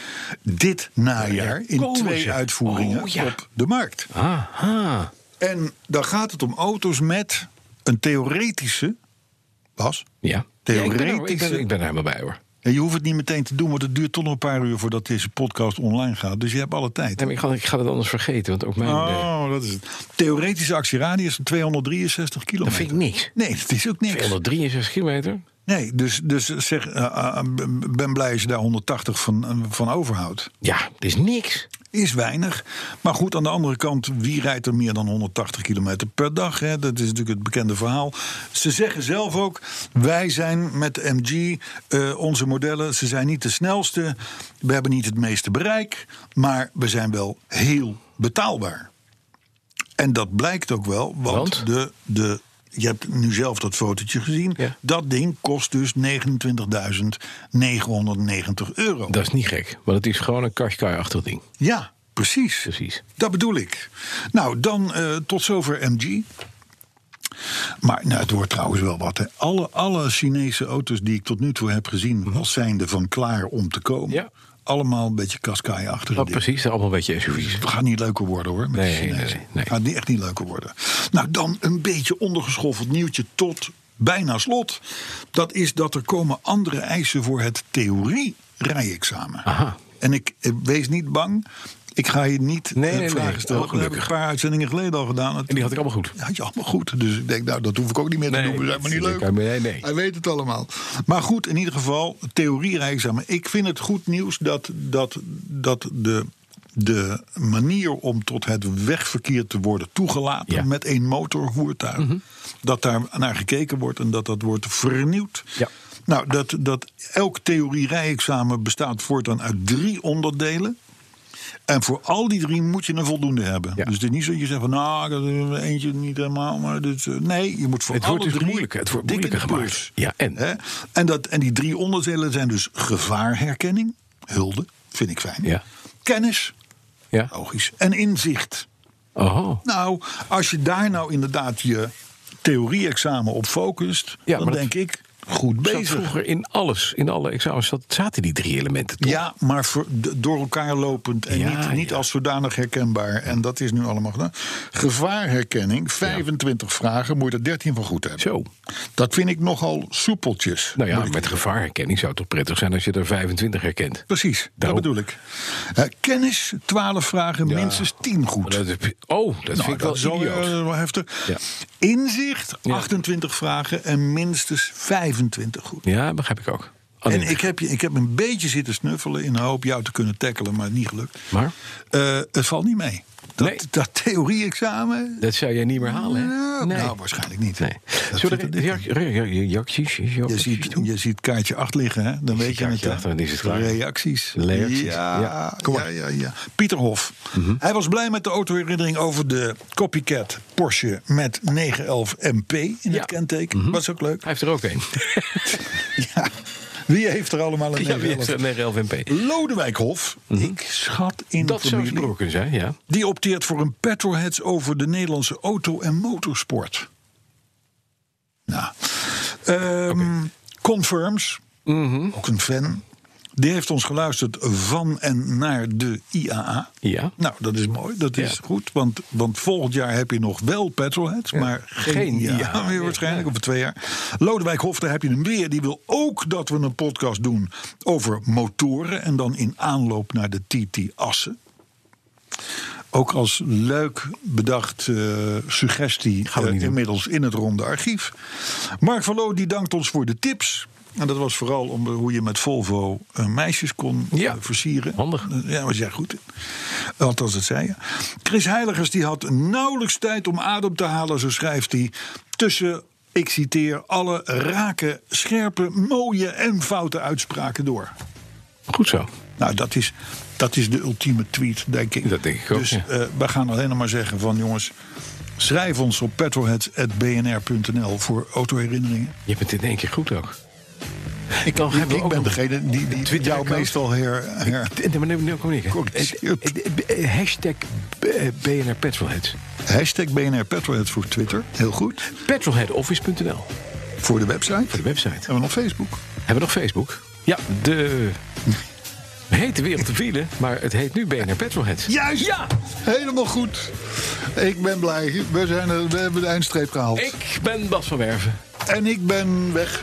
[SPEAKER 2] dit najaar in
[SPEAKER 3] komen
[SPEAKER 2] twee
[SPEAKER 3] ze.
[SPEAKER 2] uitvoeringen
[SPEAKER 3] Oh, ja.
[SPEAKER 2] op de markt.
[SPEAKER 3] Ah. Aha.
[SPEAKER 2] En dan gaat het om auto's met een theoretische. Bas?
[SPEAKER 3] Ja.
[SPEAKER 2] Theoretisch-
[SPEAKER 3] Ja, ik, ben er, ik, ben, ik ben er helemaal bij hoor.
[SPEAKER 2] En je hoeft het niet meteen te doen, want het duurt toch nog een paar uur voordat deze podcast online gaat. Dus je hebt alle tijd.
[SPEAKER 3] Nee, maar ik, ga, ik ga het anders vergeten. Want ook mijn. eh,
[SPEAKER 2] Oh, dat is het. Theoretische actieradius van 263
[SPEAKER 3] dat
[SPEAKER 2] kilometer.
[SPEAKER 3] vind ik niks.
[SPEAKER 2] Nee, dat is ook niks.
[SPEAKER 3] 263 kilometer.
[SPEAKER 2] Nee, dus, dus zeg, eh, eh, b- ben blij als je daar 180 van, eh, van overhoudt.
[SPEAKER 3] Ja, dat is niks.
[SPEAKER 2] Is weinig. Maar goed, aan de andere kant, wie rijdt er meer dan 180 kilometer per dag? Hè? Dat is natuurlijk het bekende verhaal. Ze zeggen zelf ook, wij zijn met MG, eh, onze modellen, ze zijn niet de snelste. We hebben niet het meeste bereik, maar we zijn wel heel betaalbaar. En dat blijkt ook wel, want,
[SPEAKER 3] Want?
[SPEAKER 2] De, de, je hebt nu zelf dat fotootje gezien.
[SPEAKER 3] Ja.
[SPEAKER 2] Dat ding kost dus 29.990 euro.
[SPEAKER 3] Dat is niet gek. Want het is gewoon een Qashqai-achtig ding.
[SPEAKER 2] Ja, precies.
[SPEAKER 3] Precies.
[SPEAKER 2] Dat bedoel ik. Nou, dan eh, tot zover MG. Maar nou, het wordt trouwens wel wat. Hè. Alle, alle Chinese auto's die ik tot nu toe heb gezien... als zijnde van klaar om te komen.
[SPEAKER 3] Mhm. Ja.
[SPEAKER 2] Allemaal een beetje kaskaai achter
[SPEAKER 3] Oh, precies, allemaal een beetje SUV's.
[SPEAKER 2] Het gaat niet leuker worden hoor, met
[SPEAKER 3] Nee,
[SPEAKER 2] de Chinezen.
[SPEAKER 3] nee, nee.
[SPEAKER 2] gaat niet, echt niet leuker worden. Nou, dan een beetje ondergeschoffeld nieuwtje tot bijna slot. Dat is dat er komen andere eisen voor het theorie-rijexamen.
[SPEAKER 3] Aha.
[SPEAKER 2] En ik eh, wees niet bang. Ik ga je niet
[SPEAKER 3] Nee,
[SPEAKER 2] eh,
[SPEAKER 3] nee,
[SPEAKER 2] vragen
[SPEAKER 3] nee.
[SPEAKER 2] stellen.
[SPEAKER 3] Oh,
[SPEAKER 2] dat heb ik een
[SPEAKER 3] gelukkig.
[SPEAKER 2] paar uitzendingen geleden al gedaan. En
[SPEAKER 3] En die had ik allemaal goed.
[SPEAKER 2] had je allemaal goed. Dus ik denk, nou, dat hoef ik ook niet meer te
[SPEAKER 3] Nee,
[SPEAKER 2] doen. Dat is maar niet
[SPEAKER 3] dat is
[SPEAKER 2] leuk.
[SPEAKER 3] leuk. Nee, nee.
[SPEAKER 2] Hij weet het allemaal. Maar goed, in ieder geval, theorie-rijexamen. Ik vind het goed nieuws dat, dat, dat de, de manier om tot het wegverkeer te worden toegelaten...
[SPEAKER 3] Ja. Mhm.
[SPEAKER 2] met een motorvoertuig, dat daar naar gekeken wordt... en dat dat wordt vernieuwd.
[SPEAKER 3] Ja.
[SPEAKER 2] Nou, dat, dat elk theorie-rijexamen bestaat voortaan uit drie onderdelen... En voor al die drie moet je een voldoende hebben.
[SPEAKER 3] Ja.
[SPEAKER 2] Dus het is niet zo dat je zegt van nou, ik had eentje niet helemaal. Maar dit, eh, nee, je moet voor
[SPEAKER 3] Het
[SPEAKER 2] alle
[SPEAKER 3] wordt dus
[SPEAKER 2] drie
[SPEAKER 3] moeilijker, het wordt
[SPEAKER 2] dik in de
[SPEAKER 3] moeilijker gemaakt.
[SPEAKER 2] plus.
[SPEAKER 3] Ja, en?
[SPEAKER 2] Hè? En, dat, en die drie onderdelen zijn dus gevaarherkenning, hulde, vind ik fijn.
[SPEAKER 3] Ja.
[SPEAKER 2] Kennis,
[SPEAKER 3] Ja?
[SPEAKER 2] logisch, en inzicht.
[SPEAKER 3] Oh.
[SPEAKER 2] Nou, als je daar nou inderdaad je theorie-examen op focust,
[SPEAKER 3] Ja,
[SPEAKER 2] dan
[SPEAKER 3] maar dat
[SPEAKER 2] denk ik goed
[SPEAKER 3] Zat
[SPEAKER 2] bezig.
[SPEAKER 3] vroeger in alles, in alle examens, zat- zaten die drie elementen toch?
[SPEAKER 2] Ja, maar voor- d- door elkaar lopend en
[SPEAKER 3] Ja,
[SPEAKER 2] niet, niet
[SPEAKER 3] ja.
[SPEAKER 2] als zodanig herkenbaar. En dat is nu allemaal gedaan. Gevaarherkenning, 25 vragen, moet je er 13 van goed hebben.
[SPEAKER 3] Zo.
[SPEAKER 2] Dat vind ik nogal soepeltjes.
[SPEAKER 3] Nou ja,
[SPEAKER 2] moet ik
[SPEAKER 3] met gevaarherkenning zou het toch prettig zijn als je er 25 herkent.
[SPEAKER 2] Precies,
[SPEAKER 3] Daarom.
[SPEAKER 2] dat bedoel ik. Eh, kennis, 12 vragen, minstens 10 goed.
[SPEAKER 3] Maar dat heb je- oh, dat vind ik wel
[SPEAKER 2] zo
[SPEAKER 3] idioot.
[SPEAKER 2] Nou, wel eh, heftig.
[SPEAKER 3] Ja.
[SPEAKER 2] Inzicht,
[SPEAKER 3] Ja.
[SPEAKER 2] 28 vragen en minstens 25 goed.
[SPEAKER 3] Ja, Oh, begrijp ik ook.
[SPEAKER 2] En
[SPEAKER 3] Alleen,
[SPEAKER 2] ik heb, je, ik heb een beetje zitten snuffelen in de hoop jou te kunnen tackelen, maar niet gelukt.
[SPEAKER 3] Maar?
[SPEAKER 2] Eh, het valt niet mee. Dat,
[SPEAKER 3] Nee.
[SPEAKER 2] dat theorie-examen.
[SPEAKER 3] Dat zou jij niet meer halen, hè?
[SPEAKER 2] Nou, nou, waarschijnlijk niet.
[SPEAKER 3] Nee.
[SPEAKER 2] Dat
[SPEAKER 3] Zullen
[SPEAKER 2] zit er
[SPEAKER 3] we-
[SPEAKER 2] dik in.
[SPEAKER 3] reac- re- re- re- reacties?
[SPEAKER 2] je, ziet, je ziet kaartje 8 liggen, hè? dan weet
[SPEAKER 3] ziet
[SPEAKER 2] je het.
[SPEAKER 3] kaartje
[SPEAKER 2] hè?
[SPEAKER 3] acht en dan is het klaar.
[SPEAKER 2] Reacties.
[SPEAKER 3] Reacties,
[SPEAKER 2] Ja,
[SPEAKER 3] ja. Mhm.
[SPEAKER 2] ja. ja, ja, Pieter Hof. Hij was blij met de autoherinnering over de copycat Porsche met 911 MP in
[SPEAKER 3] Ja. Mhm.
[SPEAKER 2] het kenteken. Was ook leuk.
[SPEAKER 3] Hij heeft er ook een.
[SPEAKER 2] Ja. Wie heeft er allemaal een
[SPEAKER 3] ja, wie heeft
[SPEAKER 2] 911?
[SPEAKER 3] er 9 LVMP?
[SPEAKER 2] Lodewijk Hof. Ik schat in
[SPEAKER 3] Dat
[SPEAKER 2] de
[SPEAKER 3] zou
[SPEAKER 2] familie.
[SPEAKER 3] gesproken kunnen zijn, ja.
[SPEAKER 2] Die opteert voor een petrolheads over de Nederlandse auto- en motorsport. Nou. Ehm, Confirms, ook een fan. Die heeft ons geluisterd van en naar de IAA.
[SPEAKER 3] Ja.
[SPEAKER 2] Nou, dat is mooi, dat is
[SPEAKER 3] Ja.
[SPEAKER 2] goed. Want, want volgend jaar heb je nog wel petrolheads, maar geen,
[SPEAKER 3] Geen
[SPEAKER 2] IAA,
[SPEAKER 3] IAA
[SPEAKER 2] meer
[SPEAKER 3] meer.
[SPEAKER 2] waarschijnlijk, over twee jaar. Lodewijk Hof, daar heb je hem weer. Die wil ook dat we een podcast doen over motoren... en dan in aanloop naar de TT Assen. Ook als leuk bedacht eh, suggestie
[SPEAKER 3] Gaan we
[SPEAKER 2] eh,
[SPEAKER 3] niet doen.
[SPEAKER 2] inmiddels in het ronde archief. Mark van Loo die dankt ons voor de tips. En dat was vooral om eh, hoe je met Volvo eh, meisjes kon eh,
[SPEAKER 3] Ja,
[SPEAKER 2] versieren.
[SPEAKER 3] handig.
[SPEAKER 2] Eh, ja, was jij goed in. Althans, dat zei je. Chris Heiligers die had nauwelijks tijd om adem te halen, zo schrijft hij. Tussen, ik citeer, alle rake, scherpe, mooie en foute uitspraken door.
[SPEAKER 3] Goed zo.
[SPEAKER 2] Nou, dat is, dat is de ultieme tweet, denk ik.
[SPEAKER 3] Dat denk ik ook,
[SPEAKER 2] Dus
[SPEAKER 3] ja.
[SPEAKER 2] eh, wij gaan alleen nog maar zeggen van jongens... schrijf ons op petrolheads.bnr.nl voor autoherinneringen.
[SPEAKER 3] Je bent in één keer goed ook. Ik, dan
[SPEAKER 2] Ik, ik ben degene die, die
[SPEAKER 3] Twitter
[SPEAKER 2] jou
[SPEAKER 3] account.
[SPEAKER 2] meestal her... her
[SPEAKER 3] Nee, maar nee, nee, kom niet.
[SPEAKER 2] Corrigeert.
[SPEAKER 3] Eh, eh, eh, Hashtag eh, BNR Petrolheads.
[SPEAKER 2] hashtag BNR Petrolheads voor Twitter. Heel goed.
[SPEAKER 3] Petrolheadoffice.nl
[SPEAKER 2] Voor de website.
[SPEAKER 3] voor de website.
[SPEAKER 2] Hebben we nog Facebook.
[SPEAKER 3] Hebben we nog Facebook? Oh. Ja, de hete wereld te vielen, maar het heet nu BNR Petrolheads.
[SPEAKER 2] Juist! Ja! Helemaal goed. Ik ben blij. We, zijn, er- we hebben de eindstreep gehaald.
[SPEAKER 3] Ik ben Bas van Werven.
[SPEAKER 2] En ik ben weg.